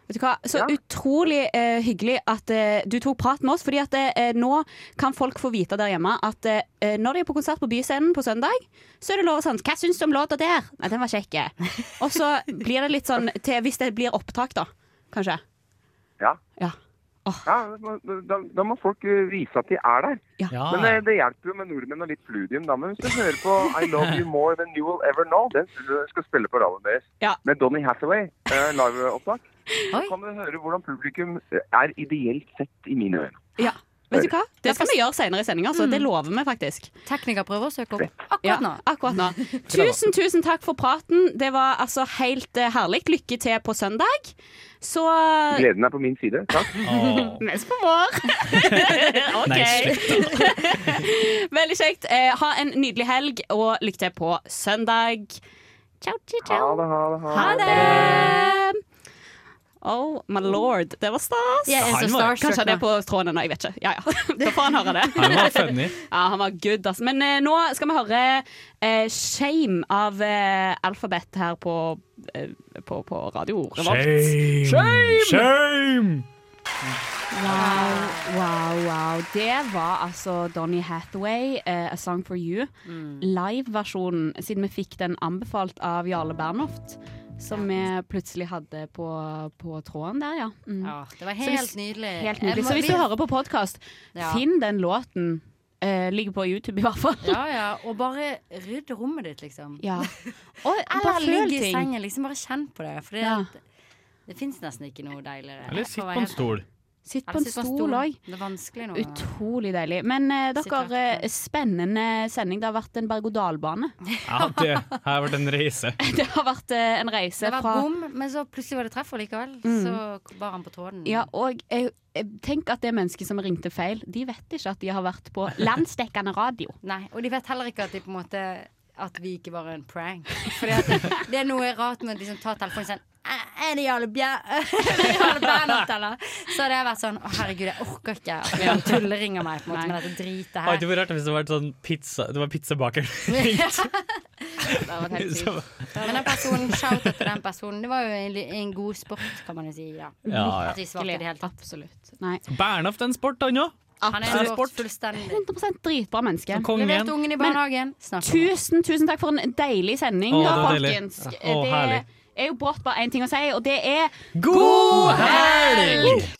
[SPEAKER 2] Vet du hva? Så utrolig eh, hyggelig at eh, du tok prat med oss. Fordi at eh, nå kan folk få vite der hjemme at eh, når de er på konsert på Byscenen på søndag, så er det lov å sånn Hva syns du om låta der? Nei, den var kjekk. Og så blir det litt sånn til Hvis det blir opptak, da, kanskje.
[SPEAKER 18] Ja.
[SPEAKER 2] Ja.
[SPEAKER 18] Ja, da, da må folk eh, vise at de er der.
[SPEAKER 3] Ah,
[SPEAKER 18] Men eh, det hjelper jo med nordmenn og litt fludium, da. Men hvis du hører på I Love You More Than You Will Ever Know, den skal skal spille på radioen deres
[SPEAKER 2] Ja.
[SPEAKER 18] med Donny Hathaway, eh, liveopptak, så kan du høre hvordan publikum eh, er ideelt sett i mine øyne.
[SPEAKER 2] ja. Vet du hva? Det skal vi gjøre senere i sendinga, så det lover vi faktisk.
[SPEAKER 5] Tekniker prøver å søke opp.
[SPEAKER 2] Ja,
[SPEAKER 5] Akkurat nå.
[SPEAKER 2] akkurat nå. Tusen, tusen takk for praten. Det var altså helt eh, herlig. Lykke til på søndag. Så
[SPEAKER 18] Gleden er på min side. Takk.
[SPEAKER 2] Mens på vår. OK.
[SPEAKER 18] Nei,
[SPEAKER 2] Veldig kjekt. Eh, ha en nydelig helg, og lykke til på søndag. Ciao, ciao, ciao.
[SPEAKER 18] Ha det, ha det.
[SPEAKER 2] Ha det. Oh my lord, det var stas!
[SPEAKER 5] Jeg er så Han var- starstruck
[SPEAKER 2] Kanskje det er
[SPEAKER 5] nå.
[SPEAKER 2] på tråden nå, jeg vet ikke. Ja, ja. Da får han høre det.
[SPEAKER 5] Han var funny.
[SPEAKER 2] Ja, han var good, ass. Men eh, nå skal vi høre eh, Shame av eh, Alphabet her på, eh, på, på radio. Revolt.
[SPEAKER 4] Shame!
[SPEAKER 2] Shame!
[SPEAKER 4] Shame!
[SPEAKER 2] Wow, wow, wow. Det var altså Donny Hathaway, eh, A Song for You.
[SPEAKER 5] Mm.
[SPEAKER 2] Live-versjonen, siden vi fikk den anbefalt av Jarle Bernhoft. Som vi plutselig hadde på, på tråden der, ja. Mm.
[SPEAKER 5] Ja, det var
[SPEAKER 2] Så
[SPEAKER 5] helt
[SPEAKER 2] hvis-
[SPEAKER 5] nydelig.
[SPEAKER 2] Helt
[SPEAKER 5] Jeg
[SPEAKER 2] nydelig.
[SPEAKER 5] må-
[SPEAKER 2] Så hvis du
[SPEAKER 5] vi-
[SPEAKER 2] hører på podkast,
[SPEAKER 5] Ja.
[SPEAKER 2] finn den låten. Eh, ligger på YouTube i hvert fall.
[SPEAKER 5] Ja, ja. Og bare rydd rommet ditt, liksom.
[SPEAKER 2] Ja.
[SPEAKER 5] Eller
[SPEAKER 2] bare føl
[SPEAKER 5] ligg i
[SPEAKER 2] ting.
[SPEAKER 5] sengen. Liksom bare kjenn på det. For det,
[SPEAKER 2] Ja.
[SPEAKER 5] det fins nesten ikke noe deiligere.
[SPEAKER 4] Eller sitt på en stol.
[SPEAKER 2] Sitt på
[SPEAKER 5] Eller
[SPEAKER 2] en
[SPEAKER 5] sitt på en stol.
[SPEAKER 2] stol òg.
[SPEAKER 5] Det er vanskelig nå.
[SPEAKER 2] Utrolig deilig. Men eh, dere, eh, spennende sending. Det har vært en berg-og-dal-bane.
[SPEAKER 4] Ja, det har vært en reise.
[SPEAKER 2] Det har vært eh, en reise
[SPEAKER 5] Det var
[SPEAKER 2] fra
[SPEAKER 5] bom, men så plutselig var det treff likevel.
[SPEAKER 2] Mm.
[SPEAKER 5] Så bar han på tråden.
[SPEAKER 2] Ja, og eh, eh, tenk at det mennesket som ringte feil, de vet ikke at de har vært på landsdekkende radio.
[SPEAKER 5] Nei, og de vet heller ikke at de på en måte At vi ikke bare er en prank. Fordi at det, det er noe rart med at de som tar telefonen sånn «Æ, Er det Jarle Bjer- Er det Jarle Bernhoft, eller? Så hadde jeg vært sånn Å, herregud, jeg orker ikke at noen tulleringer meg på en måte, med dette dritet
[SPEAKER 4] Hadde
[SPEAKER 5] her.
[SPEAKER 4] det vært artig hvis det var et sånn pizza Det var pizzabakeren.
[SPEAKER 5] Det hadde vært helt
[SPEAKER 4] Som-
[SPEAKER 5] sykt. Men den personen, shout out til den personen. Det var jo en, en god sport, kan man jo si. Ja.
[SPEAKER 4] Ah, Ja, ja.
[SPEAKER 5] At de svarte i det hele tatt. Absolutt.
[SPEAKER 2] Nei.
[SPEAKER 4] Bernhoft en sport, han òg.
[SPEAKER 5] Han er en sport fullstendig.
[SPEAKER 2] 100 dritbra menneske.
[SPEAKER 4] Så kongen. Leverte
[SPEAKER 5] ungen i barnehagen.
[SPEAKER 2] Men, tusen, tusen takk for en deilig sending,
[SPEAKER 4] Å,
[SPEAKER 2] da,
[SPEAKER 4] det var deilig.
[SPEAKER 2] folkens.
[SPEAKER 4] Å, herlig.
[SPEAKER 2] det er jo brått bare én ting å si, og det er
[SPEAKER 4] God helg!